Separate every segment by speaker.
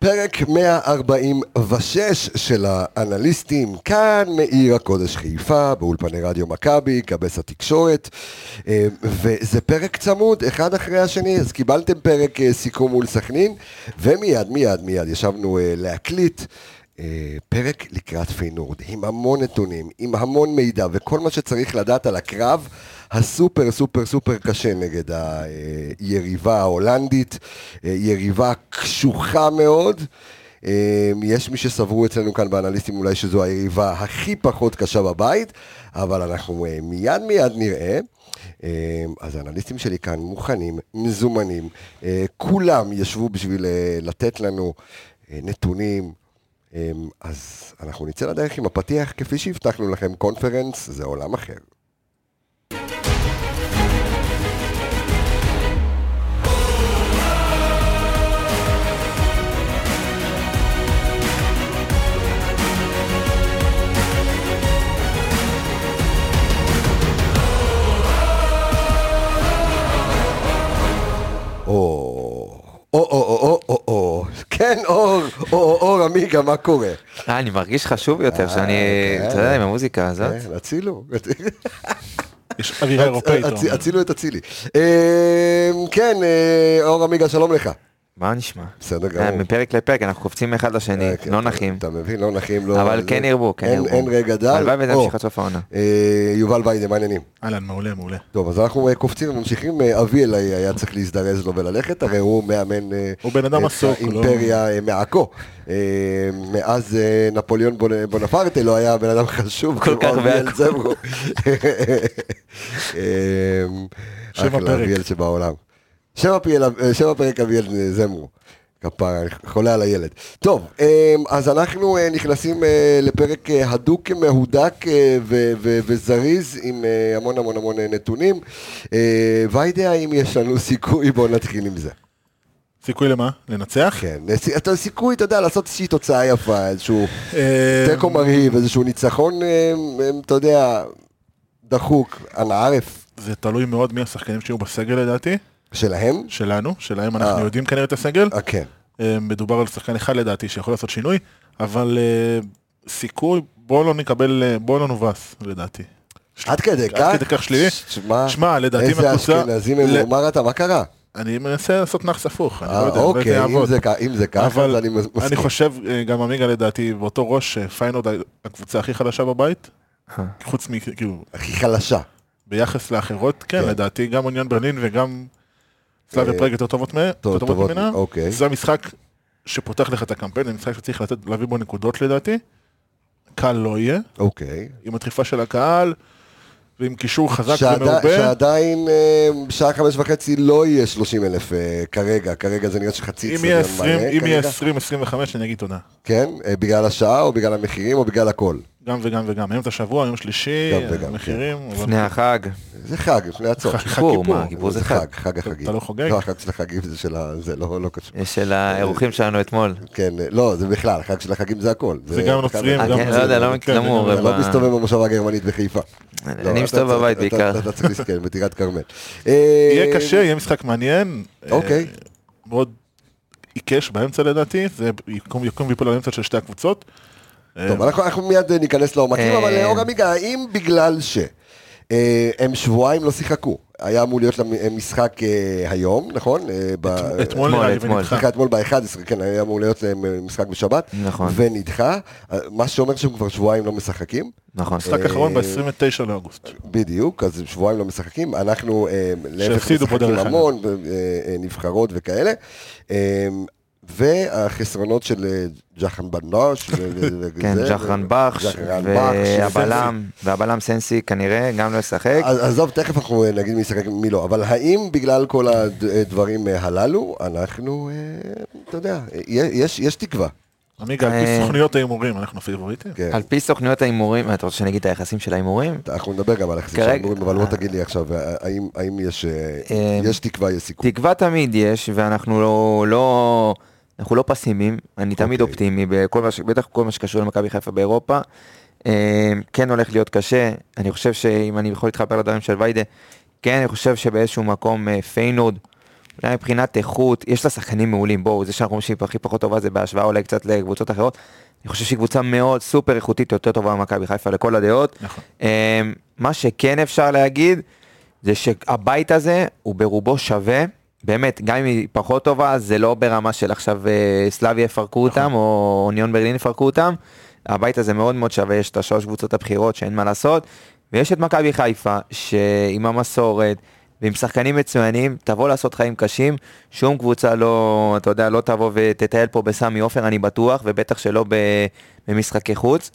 Speaker 1: פרק 146 של האנליסטים, כאן מעיר הקודש חיפה, באולפני רדיו מכבי, קבס התקשורת, אה, וזה פרק צמוד, אחד אחרי השני, אז קיבלתם פרק אה, סיכום מול סכנין, ומיד, מיד, מיד ישבנו אה, להקליט. אה, פרק לקראת פיינורד, עם המון נתונים, עם המון מידע, וכל מה שצריך לדעת על הקרב הסופר סופר סופר קשה נגד היריבה ההולנדית, אה, יריבה קשוחה מאוד. אה, יש מי שסברו אצלנו כאן באנליסטים אולי שזו היריבה הכי פחות קשה בבית, אבל אנחנו אה, מיד מיד נראה. אה, אז האנליסטים שלי כאן מוכנים, מזומנים, אה, כולם ישבו בשביל אה, לתת לנו אה, נתונים, אמ, אז אנחנו נצא לדרך עם הפתיח, כפי שהבטחנו לכם, קונפרנס זה עולם אחר. או, או, או, או, או, או, כן, אור, או, או, עמיגה, מה קורה?
Speaker 2: אה, אני מרגיש חשוב יותר, שאני,
Speaker 1: כן.
Speaker 2: אתה יודע, עם המוזיקה הזאת.
Speaker 1: כן, הצילו.
Speaker 3: יש אווירה אירופאית. אתה
Speaker 1: הצ-
Speaker 3: אומר.
Speaker 1: הצילו את אצילי. אמ, כן, אה, אור עמיגה, שלום לך.
Speaker 2: מה נשמע?
Speaker 1: בסדר
Speaker 2: אה,
Speaker 1: גמור.
Speaker 2: מפרק לפרק, אנחנו קופצים מאחד לשני,
Speaker 1: אה, כן,
Speaker 2: לא
Speaker 1: אתה-
Speaker 2: נחים.
Speaker 1: אתה מבין, לא נחים, לא...
Speaker 2: אבל כן
Speaker 1: לא-
Speaker 2: ירבו, כן
Speaker 1: אין-
Speaker 2: ירבו.
Speaker 1: אין רגע דל.
Speaker 2: הלוואי וזה
Speaker 1: או,
Speaker 2: ימשיך עד סוף העונה.
Speaker 1: אה, יובל ויידם, מה העניינים?
Speaker 3: אהלן, מעולה, מעולה.
Speaker 1: טוב, אז אנחנו אה, קופצים וממשיכים. אה, אביאל היה צריך להזדרז לו וללכת, הרי הוא מאמן... אה,
Speaker 3: הוא בן אדם
Speaker 1: את
Speaker 3: עסוק, הוא לא-
Speaker 1: האימפריה אה, מעכו. אה, מאז אה, נפוליאון בונ- בונפרטה לא היה בן אדם חשוב.
Speaker 2: כל
Speaker 1: כמו
Speaker 2: כך
Speaker 1: אביאל
Speaker 2: בעכו.
Speaker 1: זברו. אה,
Speaker 3: שם
Speaker 1: אחלה
Speaker 3: הפרק.
Speaker 1: אביאל שבעולם. שם הפרק, שם הפרק אביאל זמרו. כפרה, אני חולה על הילד. טוב, אה, אז אנחנו אה, נכנסים אה, לפרק אה, הדוק, מהודק אה, ו- ו- וזריז עם אה, המון המון המון אה, נתונים. אה, ויידה, האם יש לנו סיכוי? בואו נתחיל עם זה.
Speaker 3: סיכוי למה? לנצח?
Speaker 1: כן, אה, סי- אתה סיכוי, אתה יודע, לעשות איזושהי תוצאה יפה, איזשהו
Speaker 3: אה,
Speaker 1: תיקו מרהיב, איזשהו ניצחון, אה, אה, אתה יודע, דחוק, אנא ערף
Speaker 3: זה תלוי מאוד מי השחקנים שיהיו בסגל לדעתי,
Speaker 1: שלהם.
Speaker 3: שלנו, שלהם
Speaker 1: אה.
Speaker 3: אנחנו יודעים כנראה את הסגל.
Speaker 1: אה, כן.
Speaker 3: אה, מדובר על שחקן אחד לדעתי שיכול לעשות שינוי, אבל אה, סיכוי, בואו לא נקבל, אה, בואו לא נובס לדעתי.
Speaker 1: עד כדי כך?
Speaker 3: כדי כך שלילי?
Speaker 1: שמע,
Speaker 3: שמע, לדעתי
Speaker 1: איזה
Speaker 3: מהקבוצה-
Speaker 1: אשכנזים
Speaker 3: ל-
Speaker 1: הם, מה אתה, מה קרה?
Speaker 3: אני מנסה לעשות נאחס הפוך, אני לא
Speaker 1: אה,
Speaker 3: יודע, אבל זה
Speaker 1: אוקיי, אם
Speaker 3: יעבוד.
Speaker 1: זה כ- אם זה ככה, אז
Speaker 3: אבל
Speaker 1: אני מס-
Speaker 3: אני
Speaker 1: מסכים.
Speaker 3: חושב, אה, גם עמיגה לדעתי, באותו ראש, אה, פיינורד הקבוצה הכי חלשה בבית,
Speaker 2: אה.
Speaker 3: חוץ כאילו, מכאילו,
Speaker 1: הכי חלשה.
Speaker 3: ביחס לאחרות, כן,
Speaker 1: כן.
Speaker 3: לדעתי, גם אוניון ברלין וגם סלאביה
Speaker 1: אה,
Speaker 3: פראג יותר טובות מה- יותר
Speaker 1: טובות,
Speaker 3: טובות ממנה.
Speaker 1: אוקיי.
Speaker 3: זה המשחק שפותח לך את הקמפיין, זה משחק שצריך לתת- להביא בו נקודות לדעתי. קל לא יהיה,
Speaker 1: אוקיי.
Speaker 3: עם הדחיפה של הקהל, ועם קישור חזק
Speaker 1: שעדי-
Speaker 3: ומעובה.
Speaker 1: שעדיין אה, שעה חמש וחצי לא יהיה 30 אלף אה, כרגע, כרגע זה נראה שחצי
Speaker 3: אם יהיה
Speaker 1: אצטדיון מלא
Speaker 3: 20, אם יהיה
Speaker 1: כרגע.
Speaker 3: 20, 25, אני אגיד תודה.
Speaker 1: כן, אה, בגלל השעה או בגלל המחירים או בגלל הכל.
Speaker 3: גם וגם וגם, אמצע השבוע, יום שלישי,
Speaker 1: גם וגם, כן.
Speaker 3: מחירים. אבל-
Speaker 2: לפני החג,
Speaker 1: זה חג, לפני הצום.
Speaker 3: חג
Speaker 2: כיפור,
Speaker 3: כיפור.
Speaker 2: מה, כיפור זה חג.
Speaker 1: חג החגים.
Speaker 3: אתה לא חוגג?
Speaker 1: לא, החג של החגים זה של ה... זה לא לא קשור.
Speaker 2: יש אה, של האירוחים שלנו אתמול.
Speaker 1: כן, אה, לא, זה בכלל, חג של החגים זה הכל.
Speaker 3: זה גם נוצרים,
Speaker 2: אה,
Speaker 1: אוקיי,
Speaker 3: גם...
Speaker 2: כן, לא יודע, לא
Speaker 3: כן,
Speaker 2: לא מעורב.
Speaker 1: אתה לא
Speaker 2: ב-
Speaker 1: מסתובב במושבה הגרמנית בחיפה. לא,
Speaker 2: אני
Speaker 1: אתה
Speaker 2: מסתובב
Speaker 1: צריך-
Speaker 2: בבית
Speaker 1: אתה-
Speaker 2: בעיקר.
Speaker 1: אתה צריך להסתכל בטירת כרמל. אה,
Speaker 3: יהיה קשה, יהיה משחק מעניין.
Speaker 1: אוקיי.
Speaker 3: אה, מאוד עיקש באמצע לדעתי, זה יקום יקום ויפול על האמצע של שתי הקבוצות. אה,
Speaker 1: טוב, אנחנו, אנחנו מיד אה, ניכנס לעומקים,
Speaker 2: אה.
Speaker 1: אבל אה, אור עמיגה, האם בגלל ש... אה, הם שבועיים לא שיחקו, היה אמור להיות להם אה, משחק אה, היום, נכון? אה, ב-
Speaker 3: אתמול
Speaker 2: אתמול,
Speaker 3: נראה לי
Speaker 2: אתמול.
Speaker 3: ונדחה.
Speaker 1: סליחה, אתמול ב-11, כן, היה אמור להיות להם אה, משחק בשבת,
Speaker 2: נכון.
Speaker 1: ונדחה, אה, מה שאומר שהם כבר שבועיים לא משחקים,
Speaker 2: נכון.
Speaker 3: משחק אחרון
Speaker 1: אה,
Speaker 3: ב-29 לאוגוסט.
Speaker 1: בדיוק, אז שבועיים לא משחקים, אנחנו אה, להפך
Speaker 3: שהפסידו פה
Speaker 1: משחקים
Speaker 3: דרך אגב.
Speaker 1: המון, ו- אה, אה, נבחרות וכאלה, אה, והחסרונות של אה, ג'חן בנוש, ו- ו- ו-
Speaker 2: כן,
Speaker 1: זה,
Speaker 2: ג'חרן בחש,
Speaker 1: ג'חרן בחש,
Speaker 2: והבלם, והבלם סנסי כנראה גם לא ישחק.
Speaker 1: אז עזוב, תכף אנחנו אה, נגיד מי ישחק ומי לא, אבל האם בגלל כל הדברים אה, הללו, אנחנו, אה, אתה יודע, יש, יש תקווה.
Speaker 3: עמיגה, על
Speaker 2: אה,
Speaker 3: פי סוכניות ההימורים, אנחנו פיבוריטים?
Speaker 1: כן.
Speaker 2: על פי סוכניות ההימורים, אה, אתה רוצה שנגיד את היחסים של ההימורים?
Speaker 1: אנחנו נדבר גם על היחסים של
Speaker 2: כרגע-
Speaker 1: ההימורים, אבל בוא תגיד לי עכשיו, האם, האם יש, אה,
Speaker 2: אה,
Speaker 1: יש תקווה, יש סיכוי?
Speaker 2: תקווה תמיד יש, ואנחנו לא, לא, אנחנו לא פסימיים, אני תמיד
Speaker 1: אוקיי.
Speaker 2: אופטימי, בכל מה, ש- בטח כל מה שקשור למכבי חיפה באירופה. אה, כן הולך להיות קשה, אני חושב שאם אני יכול להתחבר לדברים של ויידה, כן, אני חושב שבאיזשהו מקום אה, פיינורד אולי מבחינת איכות, יש לה שחקנים מעולים, בואו, זה שאנחנו אומרים שהיא הכי פחות טובה, זה בהשוואה אולי קצת לקבוצות אחרות. אני חושב שהיא קבוצה מאוד סופר איכותית, יותר טובה ממכבי חיפה לכל הדעות.
Speaker 3: נכון.
Speaker 2: אה, מה שכן אפשר להגיד, זה שהבית הזה הוא ברובו שווה. באמת, גם אם היא פחות טובה, זה לא ברמה של עכשיו אה, סלאבי יפרקו אותם, או אוניון ברלין יפרקו אותם. הבית הזה מאוד מאוד שווה, יש את השלוש קבוצות הבכירות שאין מה לעשות. ויש את מכבי חיפה, שעם המסורת ועם שחקנים מצוינים, תבוא לעשות חיים קשים. שום קבוצה לא, אתה יודע, לא תבוא ותטייל פה בסמי עופר, אני בטוח, ובטח שלא ב- במשחקי חוץ.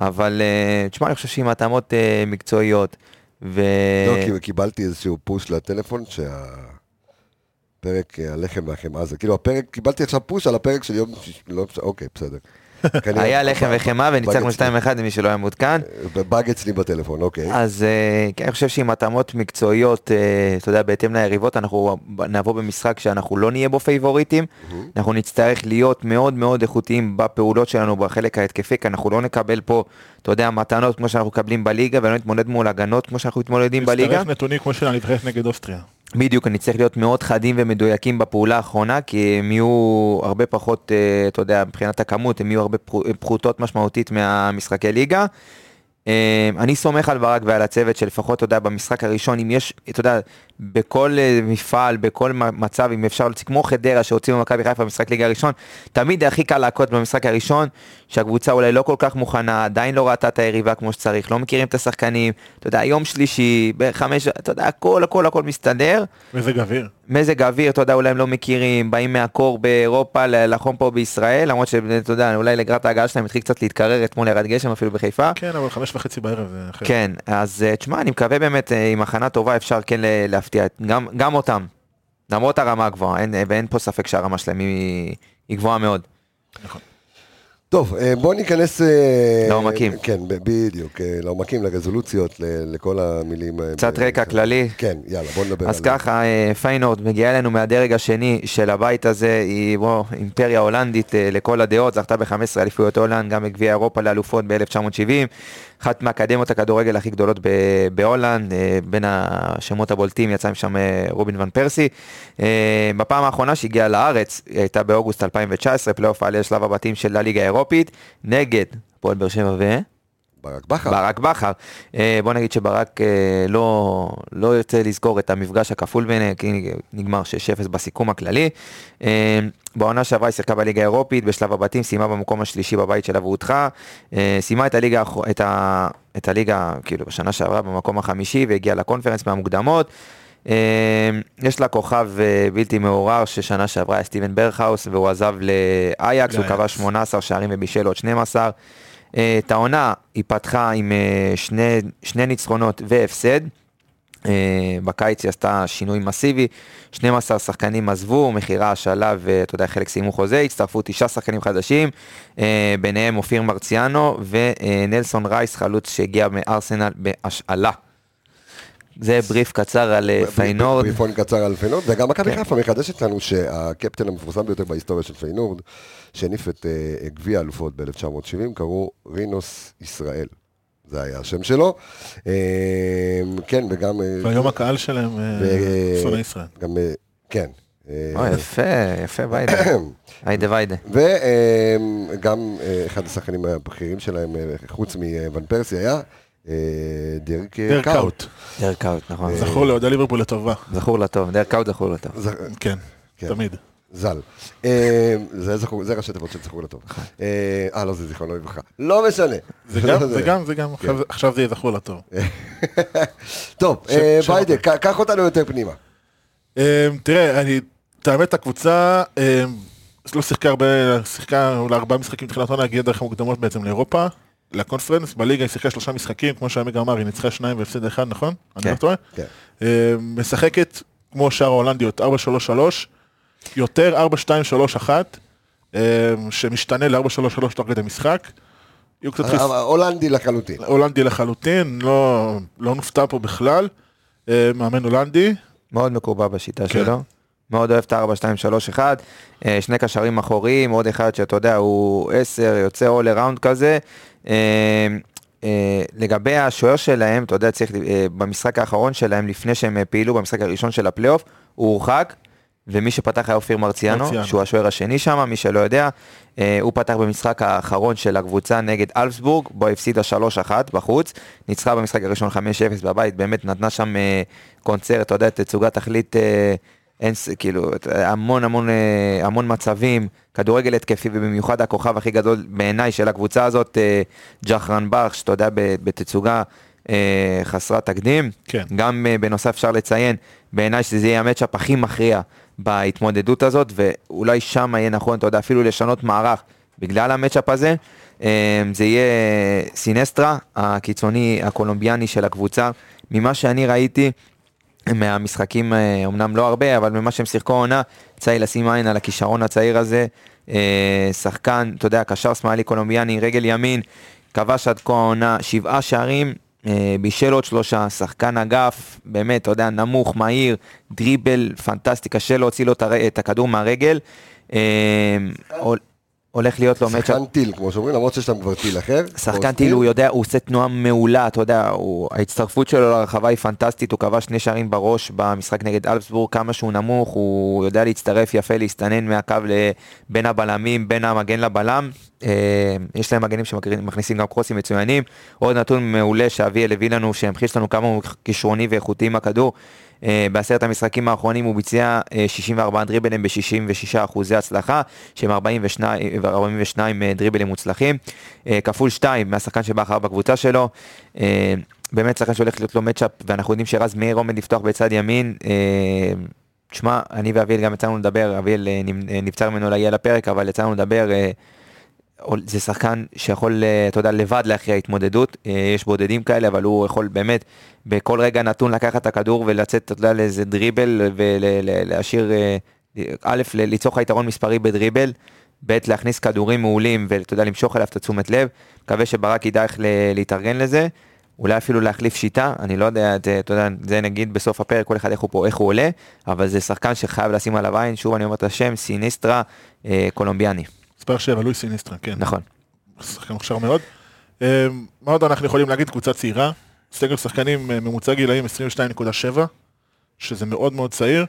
Speaker 2: אבל אה, תשמע, אני חושב שעם התאמות אה, מקצועיות, ו...
Speaker 1: לא,
Speaker 2: אה,
Speaker 1: כי קיבלתי איזשהו פוש לטלפון שהפרק אה, הלחם והחמאה זה, כאילו הפרק, קיבלתי עכשיו פוש על הפרק של יום, שיש- לא, בס- אוקיי, בסדר. כנראה-
Speaker 2: היה לחם וחמאה וניצחנו
Speaker 1: בג
Speaker 2: 2-1 למי שלא היה מעודכן.
Speaker 1: אצלי- באג אצלי בטלפון, אוקיי.
Speaker 2: אז אה, כן, אני חושב שעם התאמות מקצועיות, אה, אתה יודע, בהתאם ליריבות, אנחנו נבוא במשחק שאנחנו לא נהיה בו פייבוריטים. אנחנו נצטרך להיות מאוד מאוד איכותיים בפעולות שלנו בחלק ההתקפי, כי אנחנו לא נקבל פה, אתה יודע, מתנות כמו שאנחנו מקבלים בליגה, ולא נתמודד מול הגנות כמו שאנחנו מתמודדים בליגה.
Speaker 3: נצטרך נתונים כמו של הנבחרת נגד אוסטריה.
Speaker 2: בדיוק, אני צריך להיות מאוד חדים ומדויקים בפעולה האחרונה, כי הם יהיו הרבה פחות, אה, אתה יודע, מבחינת הכמות, הם יהיו הרבה פחו- פחותות משמעותית מהמשחקי ליגה. אה, אני סומך על ברק ועל הצוות שלפחות, אתה יודע, במשחק הראשון, אם יש, אתה יודע, בכל אה, מפעל, בכל מ- מצב, אם אפשר להוציא, כמו חדרה שהוציאו ממכבי חיפה במשחק ליגה הראשון, תמיד הכי קל להכות במשחק הראשון, שהקבוצה אולי לא כל כך מוכנה, עדיין לא ראתה את היריבה כמו שצריך, לא מכירים את השחקנים, אתה יודע, יום שלישי, בחמש, אתה יודע, הכל, הכל, הכל מסתדר.
Speaker 3: מזג אוויר.
Speaker 2: מזג האוויר, אתה יודע, אולי הם לא מכירים, באים מהקור באירופה ל- לחום פה בישראל, למרות שאתה יודע, אולי לקראת ההגעה שלהם התחיל קצת להתקרר, אתמול ירד גשם אפילו בחיפה.
Speaker 3: כן, אבל חמש וחצי בערב זה אחרת.
Speaker 2: כן, אז אה, תשמע, אני מקווה באמת, אה, עם הכנה טובה אפשר כן ל- להפתיע את- גם, גם אותם. למרות הרמה הגבוהה, אין, אה, ואין פה ספק שהרמה שלהם היא, היא גבוהה מאוד.
Speaker 1: טוב, אה, בואו ניכנס... אה,
Speaker 2: לעומקים.
Speaker 1: כן, ב- בדיוק, אה, לעומקים, לרזולוציות, ל- לכל המילים. אה,
Speaker 2: קצת
Speaker 1: ב-
Speaker 2: רקע כללי,
Speaker 1: כן, יאללה, בואו נדבר על
Speaker 2: אז ככה, אה, פיינורד מגיעה אלינו מהדרג השני של הבית הזה, היא בוא, אימפריה הולנדית אה, לכל הדעות, זכתה ב-15 אליפויות הולנד, גם בגביע אירופה לאלופות ב-1970, אחת מאקדמיות הכדורגל הכי גדולות ב- בהולנד, אה, בין השמות הבולטים יצא משם אה, רובין ון פרסי. אה, בפעם האחרונה שהגיעה לארץ, היא הייתה באוגוסט 2019, פלייאוף העלייה לשלב הבתים של הליגה האירופית, נגד הפועל באר שבע ו...
Speaker 1: ברק בכר.
Speaker 2: ברק בכר. אה, בוא נגיד שברק אה, לא, לא יוצא לזכור את המפגש הכפול ביניהם, כי נגמר 6-0 בסיכום הכללי. אה, בעונה שעברה היא שיחקה בליגה האירופית, בשלב הבתים, סיימה במקום השלישי בבית שלה והודחה. אה, סיימה את הליגה, האח- את, ה, את הליגה, כאילו, בשנה שעברה במקום החמישי, והגיעה לקונפרנס מהמוקדמות. אה, יש לה כוכב אה, בלתי מעורר ששנה שעברה היה סטיבן ברכהאוס והוא עזב לאייקס, הוא
Speaker 3: לאייקס.
Speaker 2: כבש 18 שערים ובישל עוד 12. אה, את העונה היא פתחה עם אה, שני, שני ניצחונות והפסד. אה, בקיץ היא עשתה שינוי מסיבי, 12 שחקנים עזבו, מכירה, השאלה ואתה יודע, חלק סיימו חוזה, הצטרפו תשעה שחקנים חדשים, אה, ביניהם אופיר מרציאנו ונלסון רייס, חלוץ שהגיע מארסנל בהשאלה. זה בריף קצר על אה,
Speaker 1: ב- ב-
Speaker 2: פיינורד.
Speaker 1: בריפון קצר על פיינורד, וגם מכבי
Speaker 2: כן.
Speaker 1: חיפה מחדשת לנו שהקפטן המפורסם ביותר בהיסטוריה של פיינורד, שהניף את אה, גביע האלופות ב-1970, קראו רינוס ישראל. זה היה השם שלו. אה, כן, וגם... אה,
Speaker 3: והיום הקהל שלהם אה,
Speaker 1: ו-
Speaker 3: שונא ישראל.
Speaker 1: גם... אה, כן. אה,
Speaker 2: אוי, יפה, יפה ויידה. היידה ויידה.
Speaker 1: וגם אה, אחד השחקנים הבכירים שלהם, אה, חוץ מוון פרסי, היה אה, דירק אה,
Speaker 3: דרק
Speaker 1: קאוט.
Speaker 3: אאוט.
Speaker 2: דר קאוט, נכון.
Speaker 3: זכור לאוהדי ליברפול לטובה.
Speaker 2: זכור לטוב, דר קאוט זכור לטוב.
Speaker 1: ז-
Speaker 3: כן,
Speaker 1: כן.
Speaker 3: תמיד.
Speaker 1: ז"ל. אה, זה זכור- זה ראשי תיבות של זכור לטוב. אה, אה, לא, זה זיכרונו לברכה. לא משנה.
Speaker 3: זה גם,
Speaker 1: לא
Speaker 3: זה גם, זה גם, עכשיו- עכשיו זה יהיה זכור לטוב.
Speaker 1: טוב,
Speaker 3: ש-
Speaker 1: אה,
Speaker 3: שם
Speaker 1: ביידה,
Speaker 3: אותה.
Speaker 1: ק- קח אותנו יותר פנימה.
Speaker 3: אה, תראה, אני, את האמת, הקבוצה אה, לא שיחקה הרבה, שיחקה אולי ארבעה משחקים תחילת עונה, הגיעה דרך המוקדמות בעצם לאירופה, לקונפרנס, בליגה היא שיחקה שלושה משחקים, כמו שעמיגה אמר, היא ניצחה שניים והפסידה אחד, נכון?
Speaker 2: כן.
Speaker 3: אני לא טועה?
Speaker 1: כן.
Speaker 3: אה, משחקת כמו שאר ההולנדיות, 4-3-3, יותר 4-2-3-1, אה, שמשתנה ל-4-3-3 תוך כדי משחק. יהיו קצת חיס-
Speaker 1: אה, הולנדי לחלוטין.
Speaker 3: הולנדי לחלוטין, לא, לא נופתע פה בכלל. אה, מאמן הולנדי,
Speaker 2: מאוד מקובע בשיטה
Speaker 3: כן.
Speaker 2: שלו. מאוד אוהב את ה-4-2-3-1, אה, שני קשרים אחוריים, עוד אחד שאתה יודע, הוא 10, יוצא all around כזה. אה, אה, לגבי השוער שלהם, אתה יודע, צריך, אה, במשחק האחרון שלהם, לפני שהם אה, פעילו במשחק הראשון של הפלייאוף, הוא הורחק,
Speaker 3: מרציאנו.
Speaker 2: שהוא השוער השני שם, מי שלא יודע, אה, הוא פתח במשחק האחרון של הקבוצה נגד אלפסבורג, בו הפסידה 3-1 בחוץ, ניצחה במשחק הראשון 5-0 בבית, באמת נתנה שם אה, קונצרט, אתה יודע, תצוגת תכלית, אה, אין, ס- כאילו, את- המון המון אה, המון מצבים, כדורגל התקפי, ובמיוחד הכוכב הכי גדול בעיניי של הקבוצה הזאת, אה, ג'חרן ברכש, אתה יודע, ב- בתצוגה אה, חסרת תקדים.
Speaker 3: כן.
Speaker 2: גם אה, בנוסף אפשר לציין, בעיניי שזה יהיה המצ'אפ הכי מכריע בהתמודדות הזאת, ואולי שם יהיה נכון, אתה יודע, אפילו לשנות מערך בגלל המצ'אפ הזה. אה, זה יהיה סינסטרה, הקיצוני הקולומביאני של הקבוצה. ממה שאני ראיתי, מהמשחקים, אה, אומנם לא הרבה, אבל ממה שהם שיחקו העונה, יצא לי לשים עין על הכישרון הצעיר הזה. אה, שחקן, אתה יודע, קשר שמאלי קולומביאני, רגל ימין, כבש עד כה העונה שבעה שערים, אה, בישל עוד שלושה, שחקן אגף, באמת, אתה יודע, נמוך, מהיר, דריבל, פנטסטי, קשה להוציא לו את הר- את הכדור מהרגל. אה, הול- הולך להיות לו מצ'אפ
Speaker 1: שחקן טיל, כמו שאומרים, למרות שיש להם כבר טיל אחר.
Speaker 2: שחקן
Speaker 1: פוסט
Speaker 2: טיל, הוא יודע, הוא עושה תנועה מעולה, אתה יודע, הוא, ההצטרפות שלו לרחבה היא פנטסטית, הוא כבש שני שערים בראש במשחק נגד אלפסבורג, כמה שהוא נמוך, הוא יודע להצטרף יפה, להסתנן מהקו ל- בין הבלמים, בין המגן לבלם. אה, יש להם מגנים שמכניסים גם קרוסים מצוינים. עוד נתון מעולה שאביאל הביא לנו, שהמחיש לנו כמה הוא כישרוני ואיכותי עם הכדור. אה, בעשרת המשחקים האחרונים הוא ביצע אה, 64 דריבלים ב-66 אחוזי הצלחה, שהם 42, אה, 42 אה, דריבלים מוצלחים, אה, כפול 2 מהשחקן שבא אחריו בקבוצה שלו. אה, באמת שחקן שהולך להיות לו מצ'אפ, ואנחנו יודעים שרז מאיר עומד לפתוח בצד ימין. אה, תשמע, אני ואביאל גם יצא לנו לדבר, אביאל אה, נמ- אה, נבצר ממנו להגיע לפרק, אבל יצא לנו לדבר, אה, אול- זה שחקן שיכול, אה, אתה יודע, לבד להכריע התמודדות, אה, יש בודדים כאלה, אבל הוא יכול באמת בכל רגע נתון לקחת את הכדור ולצאת, אתה יודע, לאיזה דריבל ולהשאיר, אה, א', ל- ליצור לך יתרון מספרי בדריבל, ב', להכניס כדורים מעולים ואתה יודע, למשוך אליו את התשומת לב, מקווה שברק ידע איך ל- להתארגן לזה. אולי אפילו להחליף שיטה, אני לא יודע, את- אתה יודע, זה נגיד בסוף הפרק, כל אחד איך הוא פה, איך הוא עולה, אבל זה שחקן שחייב לשים עליו עין, שוב אני אומר את השם, סיניסטרה אה, קולומביאני,
Speaker 3: מספר 7, לואי סיניסטרה, כן.
Speaker 2: נכון.
Speaker 3: שחקן מוכשר מאוד. אה, מה עוד אנחנו יכולים להגיד? קבוצה צעירה, סגל שחקנים אה, ממוצע גילאים 22.7, שזה מאוד מאוד צעיר.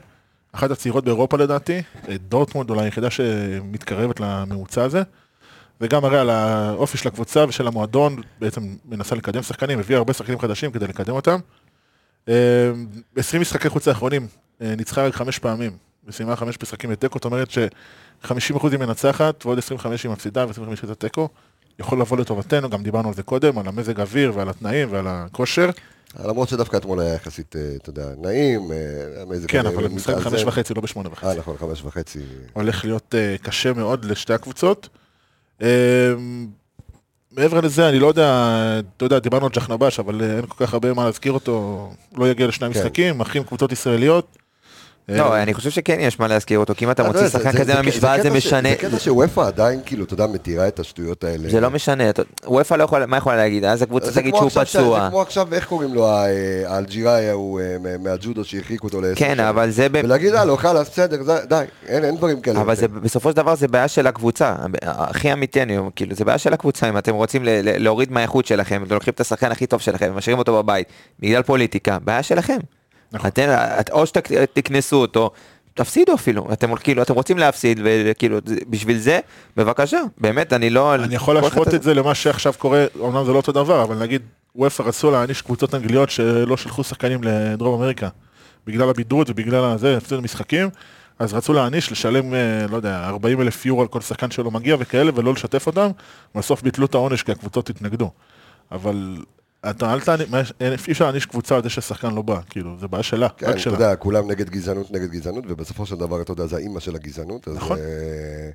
Speaker 3: אחת הצעירות באירופה לדעתי, אה, דורטמונד אולי היחידה שמתקרבת לממוצע הזה. זה גם מראה על האופי של הקבוצה ושל המועדון, בעצם מנסה לקדם שחקנים, הביא הרבה שחקנים חדשים כדי לקדם אותם. אה, 20 משחקי חוץ האחרונים, אה, ניצחה רק חמש פעמים, וסיימה חמש משחקים בתיקו, זאת אומרת ש-50% היא מנצחת ועוד 25 היא מפסידה ו-25 היא תיקו. יכול לבוא לטובתנו, גם דיברנו על זה קודם, על המזג אוויר ועל התנאים ועל הכושר.
Speaker 1: טיל. למרות שדווקא אתמול היה יחסית, אה, אתה יודע, נעים. אה, המזג
Speaker 3: כן,
Speaker 1: הזה
Speaker 3: אבל משחק
Speaker 1: מתאזן.
Speaker 3: חמש וחצי, לא בשמונה וחצי.
Speaker 1: אה, נכון, חמש וחצי.
Speaker 3: הולך להיות אה, קשה מאוד לשתי הקבוצות. אה, מעבר לזה, אני לא יודע, אתה יודע, דיברנו על ג'חנבש, אבל אה, אין כל כך הרבה מה להזכיר אותו, הוא לא יגיע לשני
Speaker 1: כן.
Speaker 3: משחקים, אחים קבוצות ישראליות. אה,
Speaker 2: לא, אני חושב שכן יש מה להזכיר אותו, כי אם אתה
Speaker 1: אה,
Speaker 2: מוציא
Speaker 1: לא,
Speaker 2: שחקן כזה
Speaker 1: זה-
Speaker 2: מהמשוואה זה
Speaker 1: קטע ש-
Speaker 2: משנה,
Speaker 1: זה קטע שוופא עדיין, כאילו, אתה יודע, מתירה את השטויות האלה.
Speaker 2: זה לא משנה, אתה- וופא לא יכול, מה יכולה להגיד, אז הקבוצה
Speaker 1: אה, זה
Speaker 2: תגיד
Speaker 1: כמו
Speaker 2: שהוא
Speaker 1: עכשיו ש- זה
Speaker 2: פצוע,
Speaker 1: כמו עכשיו, איך קוראים לו, ה- אה, האלג'יראי ההוא אה, מה- מהג'ודו שהרחיקו אותו לעשר
Speaker 2: כן,
Speaker 1: שנים.
Speaker 2: אבל זה ב-
Speaker 1: ולהגיד, אה, לא, חלאס, בסדר, זה- די, אין אין דברים כאלה.
Speaker 2: אבל
Speaker 1: יותר. כן,
Speaker 2: זה, בסופו של דבר זה בעיה של הקבוצה, הכי אמיתי אני אומר, כאילו, זה בעיה של הקבוצה, אם אתם רוצים ל- ל- להוריד מהאיכות שלכם, אתם לוקחים את השחקן הכי טוב שלכם, ומשאירים אותו בבית, בגלל פוליטיקה, בעיה שלכם.
Speaker 3: נכון.
Speaker 2: אתם, את- או שתקנסו אותו, תפסידו אפילו, אתם כאילו, אתם רוצים להפסיד, וכאילו, זה- בשביל זה, בבקשה, באמת, אני לא...
Speaker 3: אני יכול
Speaker 2: כל אחד-
Speaker 3: להשוות את זה למה שעכשיו קורה, אמנם זה לא אותו דבר, אבל נגיד, וופא רצו להעניש קבוצות אנגליות שלא שלחו שחקנים לדרום אמריקה. בגלל הבידוד ובגלל הזה, הפסידו משחקים, אז רצו להעניש, לשלם, אה, לא יודע, 40 אלף יורו על כל שחקן שלא מגיע וכאלה, ולא לשתף אותם, בסוף ביטלו את העונש כי הקבוצות התנגדו. אבל אתה אל תעניש, מה יש- אין- אי אפשר להעניש קבוצה על זה ששחקן לא בא, כאילו, זה בעיה שלה,
Speaker 1: כן,
Speaker 3: רק
Speaker 1: אתה
Speaker 3: שלה.
Speaker 1: יודע, כולם נגד גזענות, נגד גזענות, ובסופו של דבר, אתה יודע, זה האימא של הגזענות. אז,
Speaker 3: נכון.
Speaker 1: אה,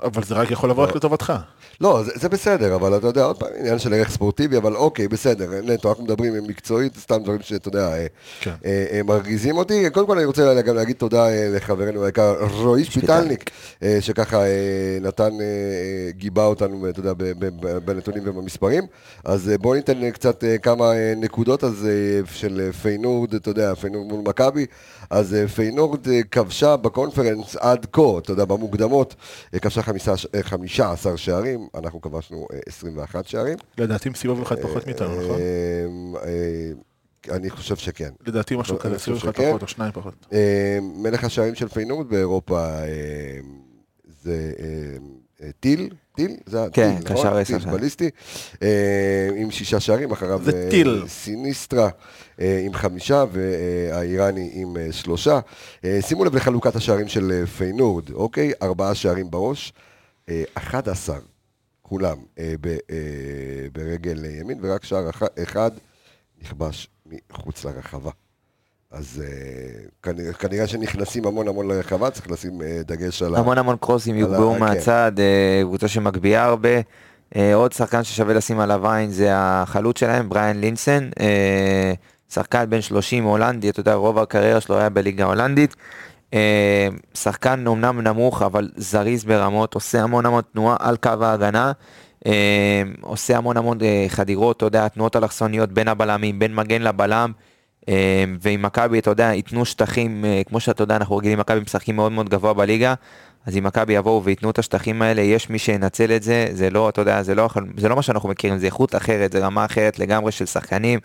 Speaker 3: אבל זה רק יכול לבוא רק לטובתך.
Speaker 1: לא, זה, זה בסדר, אבל אתה יודע, עוד פעם, עניין של ערך ספורטיבי, אבל אוקיי, בסדר, נטו, אנחנו מדברים מקצועית, סתם דברים שאתה יודע, אה,
Speaker 3: כן.
Speaker 1: אה, אה, מרגיזים אותי. קודם כל אני רוצה לה- גם להגיד תודה אה, לחברנו היקר רועי שפיטלניק, אה, שככה אה, נתן, אה, אה, גיבה אותנו, אה, אתה יודע, ב- ב- ב- בנתונים ובמספרים. אז אה, בואו ניתן אה, קצת אה, כמה אה, נקודות אז אה, של אה, פיינורד, אתה יודע, פיינורד מול מכבי. אז אה, פיינורד אה, כבשה בקונפרנס עד כה, אתה יודע, במוקדמות, אה, כבשה חמישה- אה, 15 שערים, אנחנו כבשנו אה, 21 שערים.
Speaker 3: נכון. לדעתי עם סיבוב אחד פחות מאיתנו, נכון?
Speaker 1: אה, אה, אני חושב שכן.
Speaker 3: לדעתי משהו
Speaker 1: אני
Speaker 3: כזה,
Speaker 1: לא חושב כן.
Speaker 3: סיבוב אחד
Speaker 1: שכן.
Speaker 3: פחות או שניים פחות.
Speaker 1: אה, מלך השערים של פיינורד באירופה אה, זה אה, אה, טיל, טיל? זה
Speaker 2: כן,
Speaker 1: הטיל,
Speaker 2: קשר
Speaker 1: נכון?
Speaker 2: עשר
Speaker 1: טיל
Speaker 2: שערים.
Speaker 1: בליסטי, אה, עם שישה שערים, אחריו
Speaker 3: זה
Speaker 1: אה,
Speaker 3: טיל.
Speaker 1: סיניסטרה אה, עם חמישה והאיראני עם אה, שלושה. אה, שימו לב לחלוקת השערים של אה, פיינורד, אוקיי? ארבעה שערים בראש, אה, 11 כולם אה, ב- אה, ברגל ימין, ורק שער אח- אחד נכבש מחוץ לרחבה. אז אה, כנראה, כנראה שנכנסים המון המון לרחבה, צריך לשים אה, דגש על ה...
Speaker 2: המון המון קרוסים
Speaker 1: על ה-
Speaker 2: יוגבהו
Speaker 1: כן.
Speaker 2: מהצד, אה, קבוצה שמגביהה הרבה. אה, עוד שחקן ששווה לשים עליו עין זה החלוץ שלהם, בריאן לינסן. אה, שחקן בן 30 הולנדי, אתה יודע, רוב הקריירה שלו היה בליגה ההולנדית. אה, שחקן אומנם נמוך, אבל זריז ברמות, עושה המון המון תנועה על קו ההגנה. אה, עושה המון המון אה, חדירות, אתה יודע, תנועות אלכסוניות בין הבלמים, בין מגן לבלם. אה, ועם מכבי, אתה יודע, ייתנו שטחים, אה, כמו שאתה יודע, אנחנו רגילים, מכבי משחקים מאוד מאוד גבוה בליגה, אז אם מכבי יבואו וייתנו את השטחים האלה, יש מי שינצל את זה, זה לא, אתה יודע, זה לא, החל- זה לא מה שאנחנו מכירים, זה איכות אחרת, זה רמה אחרת לגמרי של שחקנים,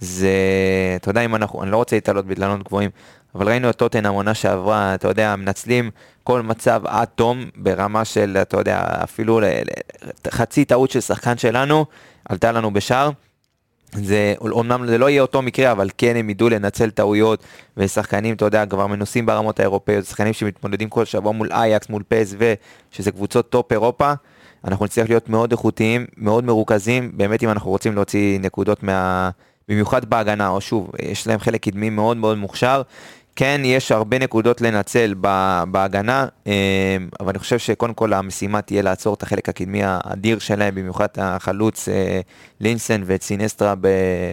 Speaker 2: זה, אתה יודע, אם אנחנו, אני לא רוצה להתעלות בגללות גבוהים, אבל ראינו את טוטנאם עונה שעברה, אתה יודע, מנצלים כל מצב עד תום, ברמה של, אתה יודע, אפילו ל- ל- חצי טעות של שחקן שלנו, עלתה לנו בשער. זה, אומנם זה לא יהיה אותו מקרה, אבל כן הם ידעו לנצל טעויות, ושחקנים, אתה יודע, כבר מנוסים ברמות האירופאיות, שחקנים שמתמודדים כל שבוע מול אייקס, מול פסו, שזה קבוצות טופ אירופה, אנחנו נצטרך להיות מאוד איכותיים, מאוד מרוכזים, באמת אם אנחנו רוצים להוציא נקודות מה... במיוחד בהגנה, או שוב, יש להם חלק קדמי מאוד מאוד מוכשר. כן, יש הרבה נקודות לנצל ב- בהגנה, אה, אבל אני חושב שקודם כל המשימה תהיה לעצור את החלק הקדמי האדיר שלהם, במיוחד החלוץ אה, לינסן ואת סינסטרה ב-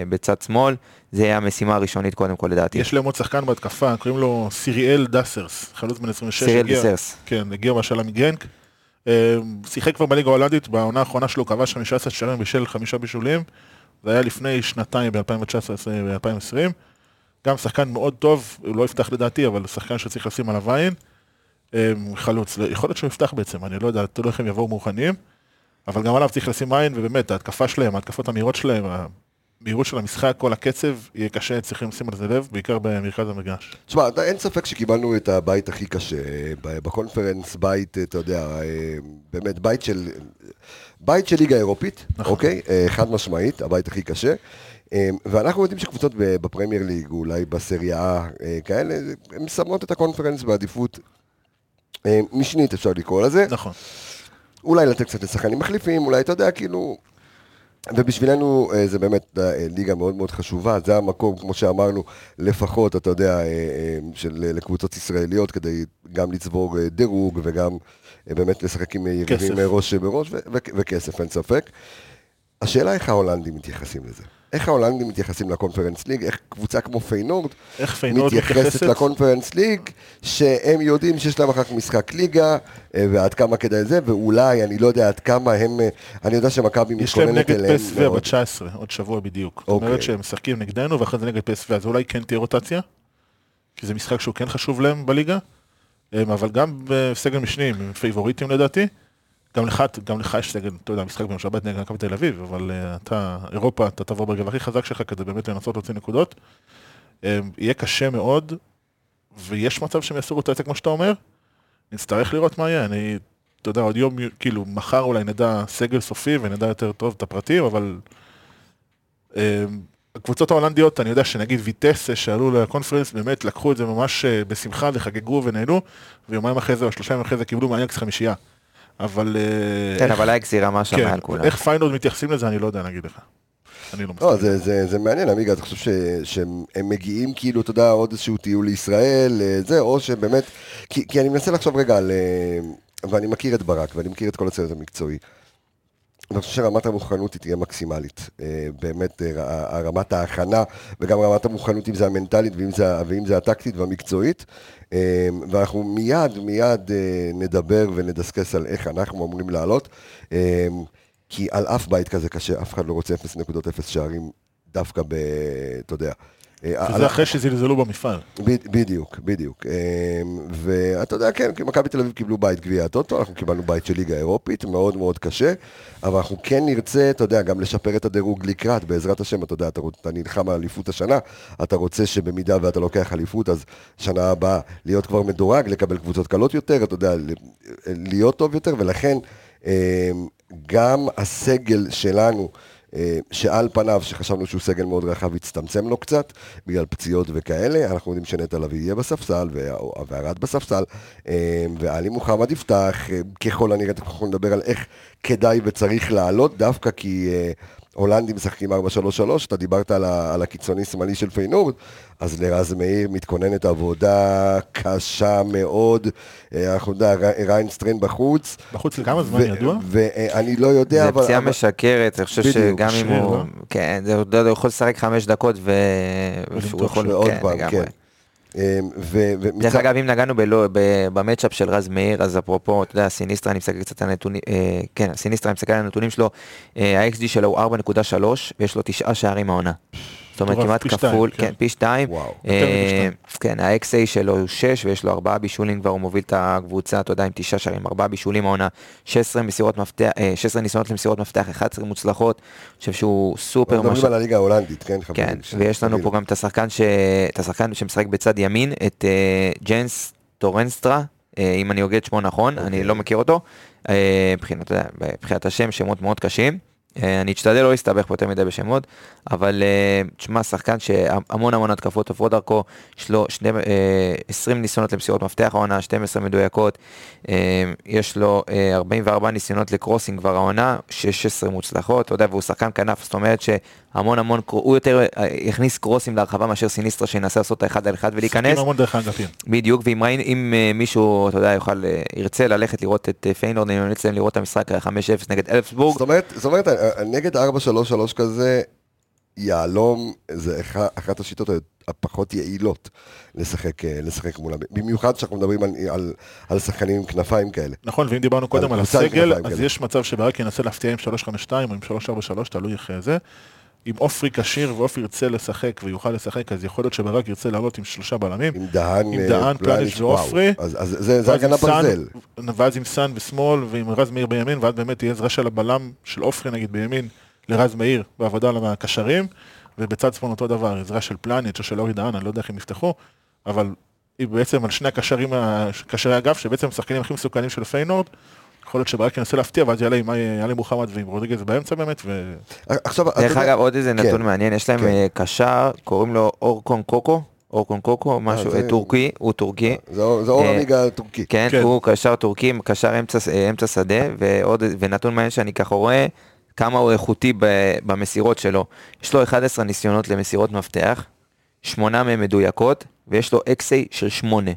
Speaker 2: בצד שמאל. זה יהיה המשימה הראשונית קודם כל לדעתי.
Speaker 3: יש להם עוד שחקן בהתקפה, קוראים לו סיריאל דסרס, חלוץ בן 26.
Speaker 2: סיריאל
Speaker 3: הגיע-
Speaker 2: דסרס.
Speaker 3: כן, הגיע מהשאלה מגרנק. אה, שיחק כבר בליגה ההולנדית, בעונה האחרונה שלו הוא כבש 15 שערים בשל חמישה בישולים. זה היה לפני שנתיים, ב-2019 ו-2020. גם שחקן מאוד טוב, הוא לא יפתח לדעתי, אבל שחקן שצריך לשים עליו עין. אה, חלוץ, לא- יכול להיות שהוא יפתח בעצם, אני לא יודע, תלוי איך הם יבואו מוכנים. אבל גם עליו צריך לשים עין, ובאמת, ההתקפה שלהם, ההתקפות המהירות שלהם, המהירות של המשחק, כל הקצב, יהיה קשה, צריכים לשים על זה לב, בעיקר במרכז המגרש.
Speaker 1: תשמע, אתה- אין ספק שקיבלנו את הבית הכי קשה אה, ב- בקונפרנס, בית, אה, אתה יודע, אה, באמת, בית של... בית של ליגה אירופית,
Speaker 3: נכון.
Speaker 1: אוקיי? אה, חד משמעית, הבית הכי קשה. אה, ואנחנו יודעים שקבוצות ב- בפרמייר ליג, אולי בסריה אה, כאלה, הן שמות את הקונפרנס בעדיפות אה, משנית, אפשר לקרוא לזה.
Speaker 3: נכון.
Speaker 1: אולי לתת קצת לשחקנים מחליפים, אולי, אתה יודע, כאילו... ובשבילנו אה, זה באמת אה, ליגה מאוד מאוד חשובה, זה המקום, כמו שאמרנו, לפחות, אתה יודע, אה, אה, של לקבוצות ישראליות, כדי גם לצבור אה, דירוג וגם אה, באמת לשחק עם יריבים
Speaker 3: כסף.
Speaker 1: אה, ראש בראש ו- ו- וכסף, אין ספק. השאלה איך ההולנדים מתייחסים לזה. איך ההולנדים מתייחסים לקונפרנס ליג, איך קבוצה כמו פיינורד
Speaker 3: איך פיינורד
Speaker 1: מתייחסת
Speaker 3: מתייחסת?
Speaker 1: לקונפרנס ליג, שהם יודעים שיש להם אחר כך משחק ליגה, אה, ועד כמה כדאי זה, ואולי, אני לא יודע עד כמה הם, אה, אני יודע שמכבי
Speaker 3: יש להם
Speaker 1: מתכוננת
Speaker 3: נגד
Speaker 1: אליהם
Speaker 3: פסווה
Speaker 1: מאוד.
Speaker 3: ב-19, עוד שבוע בדיוק. זאת
Speaker 1: אוקיי.
Speaker 3: אומרת שהם משחקים נגדנו ואחרי זה נגד פסווה, אז אולי כן תהיה רוטציה, כי זה משחק שהוא כן חשוב להם בליגה, אמ, אבל גם בסגל משנים, הם פייבוריטים לדעתי. גם לך, גם לך יש סגל, אתה יודע, משחק ביום שבת נגד מכבי תל אביב, אבל אה, אתה, אירופה, אתה תבוא ברגב הכי חזק שלך כדי באמת לנסות להוציא נקודות. אמ, יהיה קשה מאוד, ויש מצב שהם יעשו רוטציה כמו שאתה אומר, נצטרך לראות מה יהיה, אני, אתה יודע, עוד יום, כאילו, מחר אולי נדע סגל סופי ונדע יותר טוב את הפרטים, אבל... אה, הקבוצות ההולנדיות, אני יודע שנגיד ויטסה שעלו לקונפרנס, באמת לקחו את זה ממש אה, בשמחה וחגגו ונהנו, ויומיים אחרי זה או שלושה ימים אחרי זה קיבלו מאייקס חמישייה. אבל... אה,
Speaker 2: כן,
Speaker 3: איך-
Speaker 2: אבל אייקס היא רמה שם
Speaker 3: כן,
Speaker 2: מעל כולם.
Speaker 3: איך פיינורד מתייחסים לזה, אני לא יודע להגיד לך. אני לא
Speaker 1: לא,
Speaker 3: מסכים.
Speaker 1: זה, זה, זה מעניין, עמיגה, אתה חושב ש, שהם הם מגיעים כאילו, אתה יודע, עוד איזשהו טיול לישראל, אה, זה, או שבאמת, כי, כי אני מנסה לחשוב רגע על, אה, ואני מכיר את ברק, ואני מכיר את כל הצוות המקצועי. אני חושב שרמת המוכנות היא תהיה מקסימלית, אה, באמת, אה, ה- ה- רמת ההכנה וגם רמת המוכנות, אם זה המנטלית ואם זה, ואם זה הטקטית והמקצועית. אה, ואנחנו מיד, מיד אה, נדבר ונדסקס על איך אנחנו אמורים לעלות, אה, כי על אף בית כזה קשה, אף אחד לא רוצה 0.0 שערים דווקא ב... אתה יודע. אה,
Speaker 3: שזה אחרי שזלזלו במפעל.
Speaker 1: ב- בדיוק, בדיוק. אמ, ואתה יודע, כן, כי מכבי תל אביב קיבלו בית גביע הטוטו, אנחנו קיבלנו בית של ליגה אירופית, מאוד מאוד קשה, אבל אנחנו כן נרצה, אתה יודע, גם לשפר את הדירוג לקראת, בעזרת השם, אתה יודע, אתה, רוצ- אתה נלחם על אליפות השנה, אתה רוצה שבמידה ואתה לוקח אליפות, אז שנה הבאה להיות כבר מדורג, לקבל קבוצות קלות יותר, אתה יודע, ל- להיות טוב יותר, ולכן אמ, גם הסגל שלנו, אה, שעל פניו, שחשבנו שהוא סגל מאוד רחב, הצטמצם לו קצת, בגלל פציעות וכאלה, אנחנו יודעים שנטע לביא יהיה בספסל, וה- וערד בספסל, אה, ועלי מוחמד יפתח, אה, ככל הנראה, תכף אנחנו נדבר על איך כדאי וצריך לעלות, דווקא כי אה, הולנדים משחקים 4-3-3, אתה דיברת על, ה- על הקיצוני שמאלי של פיינורד, אז לרז מאיר מתכוננת עבודה קשה מאוד, אה, אנחנו יודעים, ריינסטרן בחוץ.
Speaker 3: בחוץ לכמה זמן ידוע?
Speaker 1: ואני לא יודע,
Speaker 2: זה
Speaker 1: אבל...
Speaker 2: פציעה
Speaker 1: אבל-
Speaker 2: משקרת, אני חושב
Speaker 1: בדיוק,
Speaker 2: שגם אם
Speaker 3: שריר,
Speaker 2: הוא...
Speaker 3: לא?
Speaker 2: כן, זה- אתה יודע, הוא יכול לשחק חמש דקות ו... ושהוא
Speaker 3: ולמתוח
Speaker 2: יכול...
Speaker 1: ועוד
Speaker 2: כן,
Speaker 1: פעם,
Speaker 2: לגמרי.
Speaker 1: כן. אה, ו- ומצד-
Speaker 2: דרך אגב, אם נגענו בלא- ב- במצ'אפ של רז מאיר, אז אפרופו, אתה יודע, סיניסטרה, אני מסתכל קצת על הנתונים, אה, כן, סיניסטרה, אני מסתכל על הנתונים שלו, אה, ה-XG שלו הוא 4.3, ויש לו תשעה שערים העונה. זאת אומרת,
Speaker 3: מטורף,
Speaker 2: כמעט
Speaker 3: פי שתיים,
Speaker 2: כפול,
Speaker 3: כן.
Speaker 2: כן, פי שתיים.
Speaker 1: וואו.
Speaker 2: אה,
Speaker 3: יותר מפי שתיים.
Speaker 2: כן, ה-XA שלו הוא 6, ויש לו 4 בישולים, כבר הוא מוביל את הקבוצה, אתה יודע, עם 9 שערים, 4 בישולים העונה, 16 מסירות מפתח, אה, 16 ניסיונות למסירות מפתח, 11 מוצלחות, אני חושב שהוא סופר
Speaker 1: מדברים
Speaker 2: משהו.
Speaker 1: על הליגה ההולנדית, כן?
Speaker 2: כן,
Speaker 1: חברים? ש-
Speaker 2: ויש לנו פה
Speaker 1: תבינו.
Speaker 2: גם את השחקן, ש... את השחקן שמשחק בצד ימין, את uh, ג'נס טורנסטרה, uh, אם אני הוגה את שמו נכון, אני לא מכיר אותו, uh, מבחינת, אתה יודע, מבחינת השם, שמות מאוד קשים. Uh, אני אשתדל לא להסתבך פה יותר מדי בשמות, אבל uh, תשמע, שחקן שהמון המון התקפות עוברות דרכו, יש לו שני, uh, 20 ניסיונות למסירות מפתח העונה, 12 מדויקות, uh, יש לו uh, 44 ניסיונות לקרוסינג כבר העונה, 16 מוצלחות, אתה יודע, והוא שחקן כנף, זאת אומרת שהמון המון, קר- הוא יותר אה, הכניס קרוסים להרחבה מאשר סיניסטרה שינסה לעשות את האחד על אחד ולהיכנס.
Speaker 3: משחקים המון דרך כן. האגפים.
Speaker 2: בדיוק, ואם ראינו, אם אה, מישהו, אתה יודע, יוכל, אה, ירצה ללכת לראות את אה, פיינורד, אני ממליץ להם לראות את המשחק ה- 5-0 נגד אלפסבורג.
Speaker 1: זאת אומרת, זאת אומרת, אה, נגד 4-3-3 כזה, יהלום זה אח- אחת השיטות הפחות יעילות לשחק, אה, לשחק מולם. במיוחד כשאנחנו מדברים על, על, על שחקנים עם כנפיים כאלה.
Speaker 3: נכון, ואם דיברנו קודם על
Speaker 1: קבוצה עם
Speaker 3: הסגל,
Speaker 1: כנפיים
Speaker 3: אז
Speaker 1: כאלה.
Speaker 3: יש מצב שברק ינסה להפתיע עם 352 או עם 343, תלוי איך אה, זה. אם עופרי כשיר ועופרי ירצה לשחק ויוכל לשחק, אז יכול להיות שברק ירצה לעלות עם שלושה בלמים.
Speaker 1: עם דהן,
Speaker 3: עם
Speaker 1: אה,
Speaker 3: דהן, פלניץ'
Speaker 1: וואו.
Speaker 3: ועופרי.
Speaker 1: אז, אז זה, זה
Speaker 3: ואז עם
Speaker 1: הגנה
Speaker 3: סאן-
Speaker 1: ברזל.
Speaker 3: ואז עם סאן ושמאל, ועם רז מאיר בימין, ואז באמת תהיה עזרה של הבלם של עופרי נגיד בימין, לרז מאיר, בעבודה על הקשרים, ובצד שמאל אותו דבר, עזרה של פלניץ' או של אורי דהן, אני לא יודע איך הם יפתחו, אבל היא בעצם על שני הקשרים, ה- קשרי אגף, שבעצם השחקנים הכי מסוכנים של פיינורד, יכול להיות שברק ינסה להפתיע, ואז יעלה עם עלי מוחמד ועם רודריגז באמצע באמת, ו...
Speaker 1: עכשיו, אתה
Speaker 2: דרך
Speaker 1: יודע,
Speaker 2: אגב, עוד איזה
Speaker 1: כן.
Speaker 2: נתון מעניין, יש להם
Speaker 1: כן.
Speaker 2: אה, קשר, קוראים לו אורקון קוקו, אורקון קוקו, משהו,
Speaker 1: זה-
Speaker 2: אה, טורקי, הוא טורקי.
Speaker 1: זה אור- זה אור
Speaker 2: אה,
Speaker 1: הליגה הטורקי.
Speaker 2: כן,
Speaker 3: כן.
Speaker 2: הוא קשר טורקי, קשר אמצע, אה, אמצע שדה, ועוד, ונתון מעניין שאני ככה רואה, כמה הוא איכותי ב, במסירות שלו. יש לו 11 ניסיונות למסירות מפתח, שמונה מהן מדויקות, ויש לו XA של 8.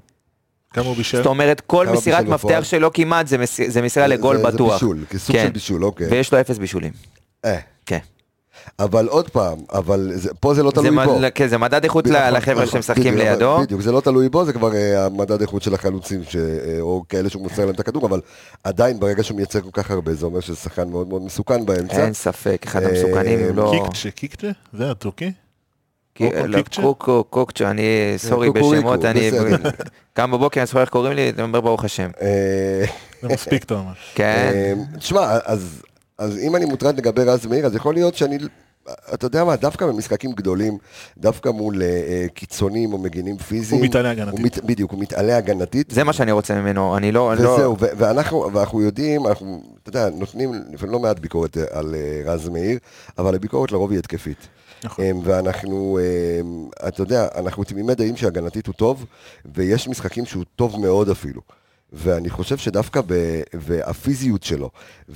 Speaker 3: כמה הוא בישל?
Speaker 2: זאת אומרת, כל
Speaker 1: כמה
Speaker 2: מסירת
Speaker 1: בישול בפועל?
Speaker 2: מפתח שלו כמעט זה, מס, זה מסירה
Speaker 1: זה-
Speaker 2: לגול
Speaker 1: זה-
Speaker 2: בטוח.
Speaker 1: זה בישול, כסוג
Speaker 2: כן.
Speaker 1: של בישול, אוקיי.
Speaker 2: ויש לו אפס בישולים.
Speaker 1: אה,
Speaker 2: כן.
Speaker 1: אבל עוד פעם, אבל זה, פה זה לא
Speaker 2: זה,
Speaker 1: תלוי
Speaker 2: מד-
Speaker 1: בו.
Speaker 2: כן, זה מדד איכות
Speaker 1: נכון,
Speaker 2: ל- לחבר'ה
Speaker 1: נכון,
Speaker 2: שמשחקים
Speaker 1: בדיוק,
Speaker 2: לידו.
Speaker 1: אבל- בדיוק, זה לא תלוי בו, זה כבר אה, המדד איכות של החלוצים, ש- אה, או כאלה שהוא מוסר להם את הכדור, אבל עדיין ברגע שהוא מייצר כל כך הרבה, זה אומר שזה שחקן מאוד מאוד מסוכן באמצע.
Speaker 2: אין ספק, אחד
Speaker 1: אה,
Speaker 2: המסוכנים, אם לא...
Speaker 3: קיקצ'ה, קיקצ'ה? זה הטורקי?
Speaker 2: כי-
Speaker 3: קוקו,
Speaker 2: לא,
Speaker 3: קיקצ'ה?
Speaker 2: קוקו, קוקצ'ה, אני, סורי
Speaker 1: קוקוריקו,
Speaker 2: בשמות, אני...
Speaker 1: אה, בסדר.
Speaker 2: גם בבוקר אני זוכר איך קוראים לי, אני אומר ברוך השם.
Speaker 1: אה,
Speaker 3: זה מספיק, אתה אומר.
Speaker 2: כן,
Speaker 1: אה, תשמע, אז, אז אם אני מוטרד לגבי רז מאיר, אז יכול להיות שאני... אתה יודע מה, דווקא במשחקים גדולים, דווקא מול אה, אה, קיצונים או מגינים פיזיים,
Speaker 3: הוא מתעלה
Speaker 1: הוא
Speaker 3: הגנתית.
Speaker 1: מת- בדיוק, הוא מתעלה הגנתית,
Speaker 2: זה מה שאני רוצה ממנו, אני לא...
Speaker 3: אה,
Speaker 2: אני לא-
Speaker 1: וזהו, ו- ואנחנו, ואנחנו יודעים, אנחנו, אתה יודע, נותנים לפעמים לא מעט ביקורת אה, על אה, רז מאיר, אבל הביקורת לרוב היא התקפית.
Speaker 3: נכון.
Speaker 1: אמ, ואנחנו, אמ, אתה יודע, אנחנו תמימי דעים שהגנתית הוא טוב, ויש משחקים שהוא טוב מאוד אפילו. ואני חושב שדווקא ב- והפיזיות שלו,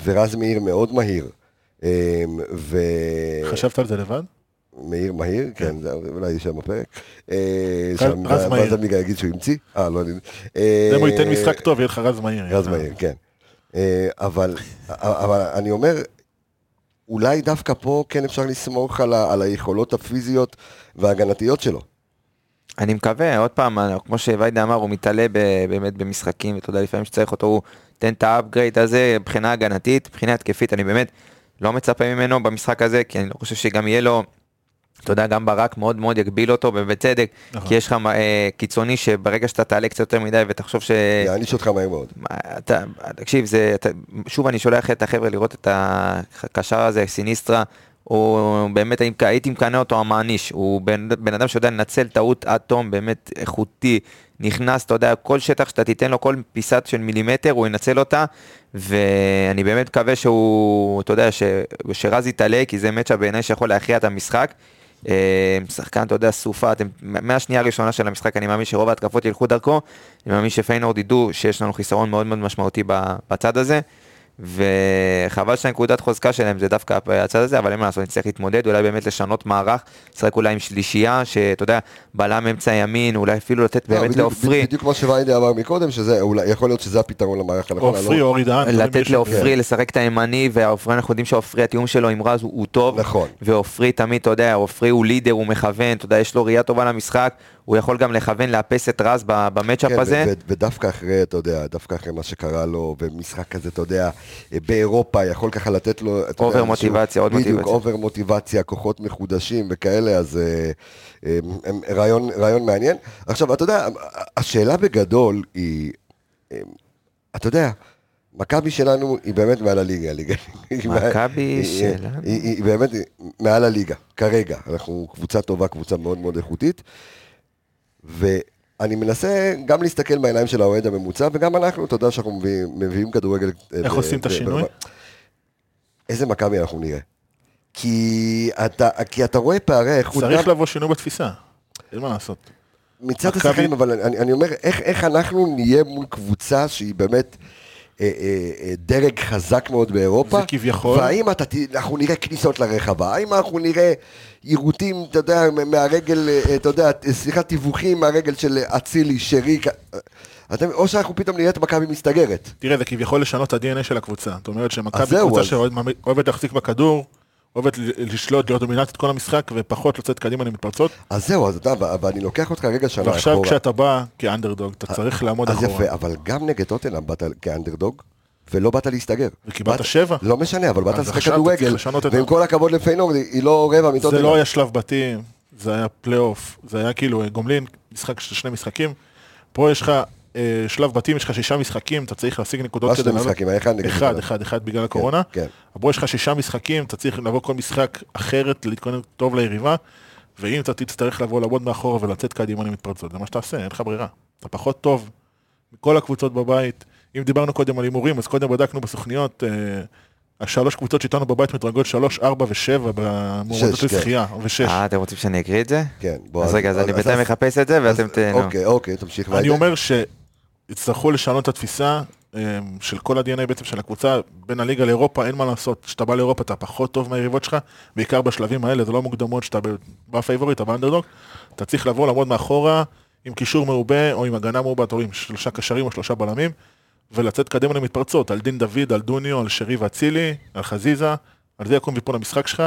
Speaker 1: ורז מאיר מאוד מהיר, אמ, ו... אה,
Speaker 3: חשבת על זה לבד?
Speaker 1: מאיר מהיר, כן, זה אולי יהיה שם בפרק. אה,
Speaker 3: רז-
Speaker 1: שם,
Speaker 3: רז מהיר.
Speaker 1: ואז עמיגה יגיד שהוא המציא? אה, לא, אני... אה,
Speaker 3: אם הוא ייתן משחק טוב, יהיה לך רז מהיר.
Speaker 1: רז מאיר, כן. אה, אבל, אבל אני אומר, אולי דווקא פה כן אפשר לסמוך על, ה, על היכולות הפיזיות וההגנתיות שלו.
Speaker 2: אני מקווה, עוד פעם, אני- כמו שוויידה אמר, הוא מתעלה ב- באמת במשחקים, ואתה יודע, לפעמים שצריך אותו, הוא נותן את האפגרייד הזה מבחינה הגנתית, מבחינה התקפית, אני באמת לא מצפה ממנו במשחק הזה, כי אני לא חושב שגם יהיה לו אתה יודע, גם ברק מאוד מאוד יגביל אותו, ובצדק,
Speaker 3: נכון.
Speaker 2: כי יש לך אה, קיצוני שברגע שאתה תעלה קצת יותר מדי ותחשוב ש...
Speaker 1: יעניש אותך מהר מאוד.
Speaker 2: מה, אתה, תקשיב, זה, אתה, שוב אני שולח את החבר'ה לראות את הקשר הזה, סיניסטרה, הוא באמת, הייתי- הייתי מקנא אותו המעניש, הוא בן, בן אדם שיודע לנצל טעות עד תום, באמת איכותי, נכנס, אתה יודע, כל שטח שאתה תיתן לו, כל פיסת של מילימטר, הוא ינצל אותה, ואני באמת מקווה שהוא, אתה יודע, ש, שרז יתעלה, כי זה מצ'ה בעיניי שיכול להכריע את המשחק. אה, שחקן, אתה יודע, סופה, אתם, מהשנייה הראשונה של המשחק, אני מאמין שרוב ההתקפות ילכו דרכו, אני מאמין שפיינורד ידעו שיש לנו חיסרון מאוד מאוד משמעותי ב- בצד הזה, וחבל שהנקודת חוזקה שלהם זה דווקא הפ- הצד הזה, אבל אין מה לעשות, נצטרך להתמודד, אולי באמת לשנות מערך, לשחק אולי עם שלישייה, שאתה יודע, בלם אמצע ימין, אולי אפילו לתת
Speaker 1: לא,
Speaker 2: באמת
Speaker 1: בדיוק-
Speaker 2: לעופרי,
Speaker 1: בדיוק כמו שוויידי אמר מקודם, שזה אולי, יכול להיות שזה הפתרון למערך הנכון. לא-
Speaker 3: או עופרי או אורי דהן. תלוי מי
Speaker 2: לתת
Speaker 3: יש- כן.
Speaker 2: לעופרי לשחק את הימני, ועופרי, אנחנו יודעים שעופרי, התיאום שלו עם רז הוא, הוא טוב.
Speaker 1: נכון.
Speaker 2: ועופרי תמיד, אתה יודע, עופרי הוא לידר, הוא מכוון, אתה יודע, יש לו ראייה טובה למשחק, הוא יכול גם לכוון, לאפס את רז ב- במצ'אפ
Speaker 1: כן,
Speaker 2: הזה.
Speaker 1: ו- ו- ודווקא אחרי, אתה יודע, דווקא אחרי מה שקרה לו, במשחק כזה, אתה יודע, אה, באירופה, יכול ככה לתת לו... אתה יודע,
Speaker 2: אובר
Speaker 1: איזשהו-
Speaker 2: מוטיבציה, עוד
Speaker 1: בדיוק,
Speaker 2: מוטיבציה.
Speaker 1: אובר מוטיבציה, כוחות מחודשים וכאלה, אז אה, אה, אה, רעיון, רעיון מעניין. עכשיו, אתה יודע, השאלה בגדול היא, אה, אתה יודע, מכבי שלנו היא באמת מעל הליגה. הליגה- היא מעל-
Speaker 2: מכבי
Speaker 1: היא-
Speaker 2: שלנו.
Speaker 1: היא, היא, היא באמת מעל הליגה, כרגע. אנחנו קבוצה טובה, קבוצה מאוד מאוד איכותית. ואני מנסה גם להסתכל בעיניים של האוהד הממוצע, וגם אנחנו, אתה יודע שאנחנו מביאים, מביאים כדורגל... אה,
Speaker 3: איך עושים את השינוי?
Speaker 1: איזה מכבי אנחנו נראה. כי אתה, כי אתה רואה פערי איכות.
Speaker 3: צריך
Speaker 1: גם
Speaker 3: לבוא שינוי בתפיסה. אין מה לעשות.
Speaker 1: מצד
Speaker 3: מכבי-
Speaker 1: השחקנים, אבל אני, אני אומר, איך, איך אנחנו נהיה מול קבוצה שהיא באמת אה, אה, אה, דרג חזק מאוד באירופה?
Speaker 3: זה כביכול.
Speaker 1: והאם אתה, ת- אנחנו נראה כניסות לרחבה? האם אנחנו נראה יירוטים, אתה יודע, מ- מהרגל, אה, אתה יודע, ת- סליחה, תיווכים מהרגל של אצילי, שרי? כ- אה, אתם, או שאנחנו פתאום נראה את מכבי מסתגרת.
Speaker 3: תראה, זה כביכול לשנות את ה-DNA של הקבוצה. זאת אומרת
Speaker 1: אז
Speaker 3: שמכבי
Speaker 1: זהו,
Speaker 3: קבוצה
Speaker 1: אז-
Speaker 3: שאוהבת להחזיק בכדור, אוהבת ל- לשלוט, להיות דומיננטית כל המשחק, ופחות לצאת קדימה למתפרצות.
Speaker 1: אז זהו, אז אתה, ו- ואני לוקח אותך רגע שנה לא, אחורה. אה,
Speaker 3: ועכשיו כשאתה בא כאנדרדוג, אתה צריך לעמוד
Speaker 1: אז
Speaker 3: אחורה.
Speaker 1: יפה, אבל גם נגד טוטנאם באת כאנדרדוג, ולא באת להסתגר.
Speaker 3: וקיבלת
Speaker 1: באת-
Speaker 3: שבע.
Speaker 1: לא משנה, אבל באת
Speaker 3: אז
Speaker 1: לשחק
Speaker 3: עכשיו אתה צריך
Speaker 1: כדורגל,
Speaker 3: לשנות את
Speaker 1: ועם
Speaker 3: ה-
Speaker 1: כל הכבוד לפיינורד, היא לא רבע
Speaker 3: זה לא
Speaker 1: מטוטנאם.
Speaker 3: היה שלב בתים, זה היה פלייאוף, זה היה כאילו אה, גומלין, משחק של שני משחקים. פה יש לך אה, שלב בתים, יש לך שישה משחקים, אתה צריך להשיג
Speaker 1: מה
Speaker 3: נקודות
Speaker 1: שני
Speaker 3: לעלות.
Speaker 1: משחקים, היה אחד נגד
Speaker 3: אחד,
Speaker 1: טוטנהאם.
Speaker 3: אחד, אחד בגלל
Speaker 1: כן,
Speaker 3: הקורונה.
Speaker 1: כן.
Speaker 3: אמרו יש לך שישה משחקים, אתה צריך לבוא כל משחק אחרת, להתכונן טוב ליריבה, ואם אתה תצטרך לבוא לעמוד מאחורה ולצאת קדימה למתפרצות, זה מה שתעשה, אין לך ברירה. אתה פחות טוב מכל הקבוצות בבית. אם דיברנו קודם על הימורים, אז קודם בדקנו בסוכניות, אה, השלוש קבוצות שאיתנו בבית מדרגות שלוש, ארבע ושבע במועמדות
Speaker 1: שש, כן.
Speaker 3: לזכייה, ושש.
Speaker 2: אה, אתם רוצים שאני אקריא את זה?
Speaker 1: כן, בוא.
Speaker 2: אז רגע, אז אני בינתיים מחפש אה, את זה, ואתם תהנו.
Speaker 1: אוקיי, אוקיי, תמשיך.
Speaker 3: אני
Speaker 1: ויידן.
Speaker 3: אומר שיצטרכו לשנות את התפיסה אה, של כל ה-DNA בעצם של הקבוצה, בין הליגה לאירופה, אין מה לעשות, כשאתה בא לאירופה אתה פחות טוב מהיריבות שלך, בעיקר בשלבים האלה, זה לא מוקדמות שאתה ב- בפייבוריט, אתה באנדרדוג, אתה צריך לבוא, לעמוד מאחורה, עם קישור מעובה, או עם הגנה מעובה, או עם שלושה קשרים או שלושה בלמים, ולצאת קדימה למתפרצות, על דין דוד, על דוניו, על שרי ואצילי, על חזיזה, על זה יקום ויפול המשחק שלך,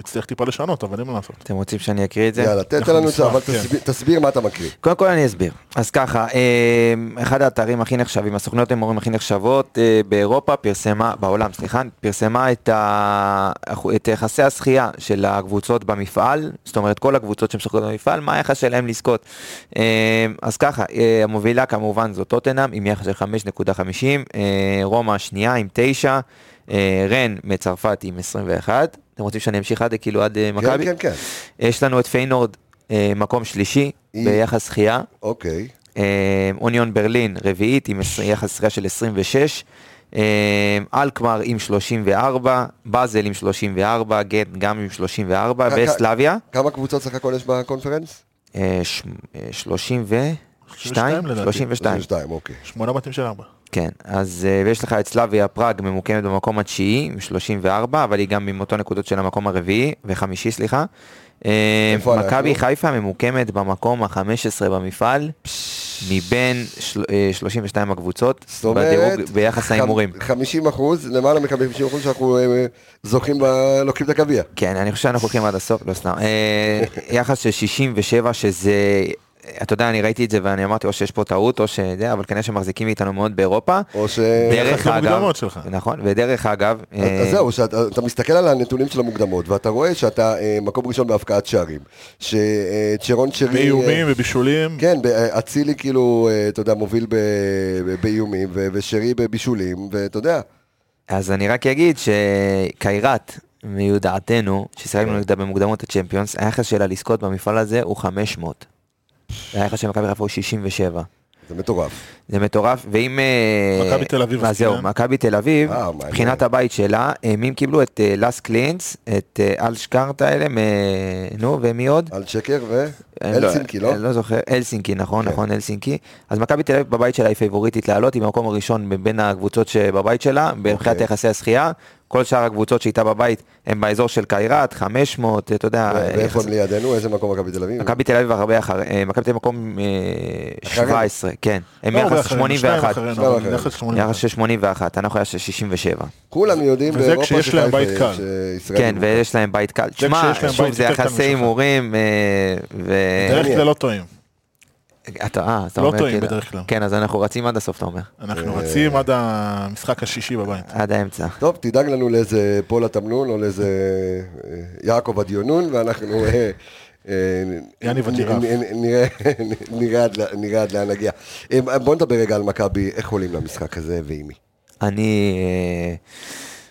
Speaker 3: ותצטרך טיפה לשנות, אבל אין מה לעשות.
Speaker 2: אתם רוצים שאני אקריא את זה?
Speaker 1: יאללה, ת- תן
Speaker 3: אנחנו
Speaker 1: לנו את זה,
Speaker 3: נשמח,
Speaker 1: אבל
Speaker 3: כן.
Speaker 1: תסביר- תסביר מה אתה מקריא.
Speaker 2: קודם כל אני אסביר. אז ככה, אה, אחד האתרים הכי נחשבים, הסוכנויות המורים הכי נחשבות אה, באירופה, פרסמה, בעולם, סליחה, פרסמה את, ה, את יחסי הזכייה של הקבוצות במפעל, זאת אומרת כל הקבוצות שמשחקות במפעל, מה היחס שלהם לזכות. אה, אז ככה, אה, המובילה כמובן זו טוטנאם עם יחס של 5.50, אה, רומא השנייה עם 9, אה, רן מצרפת עם 21. אתם רוצים שאני אמשיך עד כאילו עד אה,
Speaker 1: כן,
Speaker 2: מכבי?
Speaker 1: כן, כן.
Speaker 2: יש לנו את פיינורד, אה, מקום שלישי
Speaker 1: היא-
Speaker 2: ביחס זכייה.
Speaker 1: אוקיי.
Speaker 2: אה, אוניון ברלין רביעית עם עשר- יחס זכייה של 26, אה, אלקמר עם 34, באזל עם 34, גט גם עם 34,
Speaker 1: רק-
Speaker 2: וסלביה
Speaker 1: כמה קבוצות סך הכל יש בקונפרנס?
Speaker 2: אה, ש- אה, 32,
Speaker 3: 32 לדעתי.
Speaker 2: 32,
Speaker 1: 32, אוקיי.
Speaker 3: שמונה בתים של ארבע.
Speaker 2: כן, אז אה, ויש לך את סלביה פראג ממוקמת במקום התשיעי עם 34, אבל היא גם עם אותו נקודות של המקום הרביעי, וחמישי סליחה. אה,
Speaker 1: איפה אנחנו?
Speaker 2: מכבי חיפה ממוקמת במקום ה-15 במפעל, מבין של- אה, 32 הקבוצות,
Speaker 1: זאת אומרת,
Speaker 2: בדירוג ביחס
Speaker 1: חמ-
Speaker 2: להימורים.
Speaker 1: 50 אחוז, למעלה מ-50 אחוז שאנחנו אה, זוכים, ב- לוקחים את הגביע.
Speaker 2: כן, אני חושב שאנחנו הולכים עד הסוף, לא סתם. אה, יחס של 67, שזה אתה יודע, אני ראיתי את זה ואני אמרתי או שיש פה טעות או שזה, אבל כנראה שמחזיקים מאיתנו מאוד באירופה.
Speaker 1: או ש...
Speaker 2: דרך
Speaker 3: זה
Speaker 2: אגב,
Speaker 3: המוקדמות שלך.
Speaker 2: נכון, ודרך אגב, אה,
Speaker 1: אז זהו, שאתה אתה מסתכל על הנתונים של המוקדמות, ואתה רואה שאתה אה, מקום ראשון בהבקעת שערים. שצ'רון שרי... אה,
Speaker 3: באיומים ובישולים.
Speaker 1: כן, ב- אצילי כאילו, אה, אתה יודע, מוביל ב- ב- באיומים, ו- ושרי בבישולים, ואתה יודע,
Speaker 2: אז אני רק אגיד שקיירת, מיודעתנו, ששיחקנו
Speaker 3: כן.
Speaker 2: נגדה במוקדמות הצ'מפיונס, היחס שלה לזכות במפעל הזה הוא 500. היחס של מכבי חיפה הוא 67.
Speaker 1: זה מטורף.
Speaker 2: זה מטורף, ואם... אה,
Speaker 3: מכבי תל אביב
Speaker 2: אז זהו,
Speaker 3: עסקינן.
Speaker 2: מכבי תל אביב,
Speaker 1: אה, מעניין.
Speaker 2: מבחינת הבית שלה, הם אם קיבלו את אה, לס קלינס, את אה, אל שקארט האלה, מ- אה, נו, ומי עוד?
Speaker 1: על שקר ו...
Speaker 2: אני
Speaker 1: אלסינקי, לא?
Speaker 2: אני לא זוכר, אלסינקי, נכון,
Speaker 1: כן.
Speaker 2: נכון, אלסינקי. אז מכבי תל אביב בבית שלה היא פייבוריטית לעלות, היא במקום הראשון בין הקבוצות שבבית שלה, מבחינת
Speaker 1: אוקיי.
Speaker 2: יחסי הזכייה. כל שאר הקבוצות שאיתה בבית הם באזור של קיירת, 500, אתה יודע.
Speaker 1: ו- אה, ואיפה
Speaker 2: יחס-
Speaker 1: הם לידינו? איזה מקום מכבי תל אביב?
Speaker 2: מכבי תל אביב הרבה אחרי, אה, מכבי תל אביב מקום אה,
Speaker 1: אחרינו.
Speaker 2: 17, כן. הם
Speaker 3: לא הרבה
Speaker 2: יחס
Speaker 3: אחרינו, שניים
Speaker 2: 81.
Speaker 3: אחרינו,
Speaker 1: שניים
Speaker 3: אבל
Speaker 1: אחרינו.
Speaker 3: יחס 81.
Speaker 2: יחס של 81, אנחנו יחס של 67.
Speaker 1: כולם יודעים
Speaker 3: וזה
Speaker 1: באירופה
Speaker 3: כשיש להם בית
Speaker 1: שחיפה- אה,
Speaker 3: קל.
Speaker 1: שישראל
Speaker 2: כן,
Speaker 1: היא מוקדמת.
Speaker 2: ויש להם בית קל. תשמע,
Speaker 3: כשיש להם
Speaker 2: שוב,
Speaker 3: בית
Speaker 2: זה
Speaker 3: יותר קל
Speaker 2: יחסי
Speaker 3: משלך.
Speaker 2: הימורים, אה, ו...
Speaker 3: בדרך כלל לא טועים.
Speaker 2: אתה, אה, אתה
Speaker 3: לא
Speaker 2: אומר
Speaker 3: טועים
Speaker 2: כאילו-
Speaker 3: בדרך כלל.
Speaker 2: כן, אז אנחנו רצים עד הסוף, אתה אומר.
Speaker 3: אנחנו
Speaker 1: אה.
Speaker 3: רצים עד המשחק השישי בבית.
Speaker 2: עד האמצע.
Speaker 1: טוב, תדאג לנו לאיזה פול התמנון או לאיזה אה, יעקב הדיונון, ואנחנו אה, אה,
Speaker 3: יניב
Speaker 1: נ-
Speaker 3: הג'ירף.
Speaker 1: נ- נ- נראה- נראה עד ל- נראה עד לאן נגיע. אה, בוא נדבר רגע על מכבי, איך עולים למשחק הזה ועם מי.
Speaker 2: אני...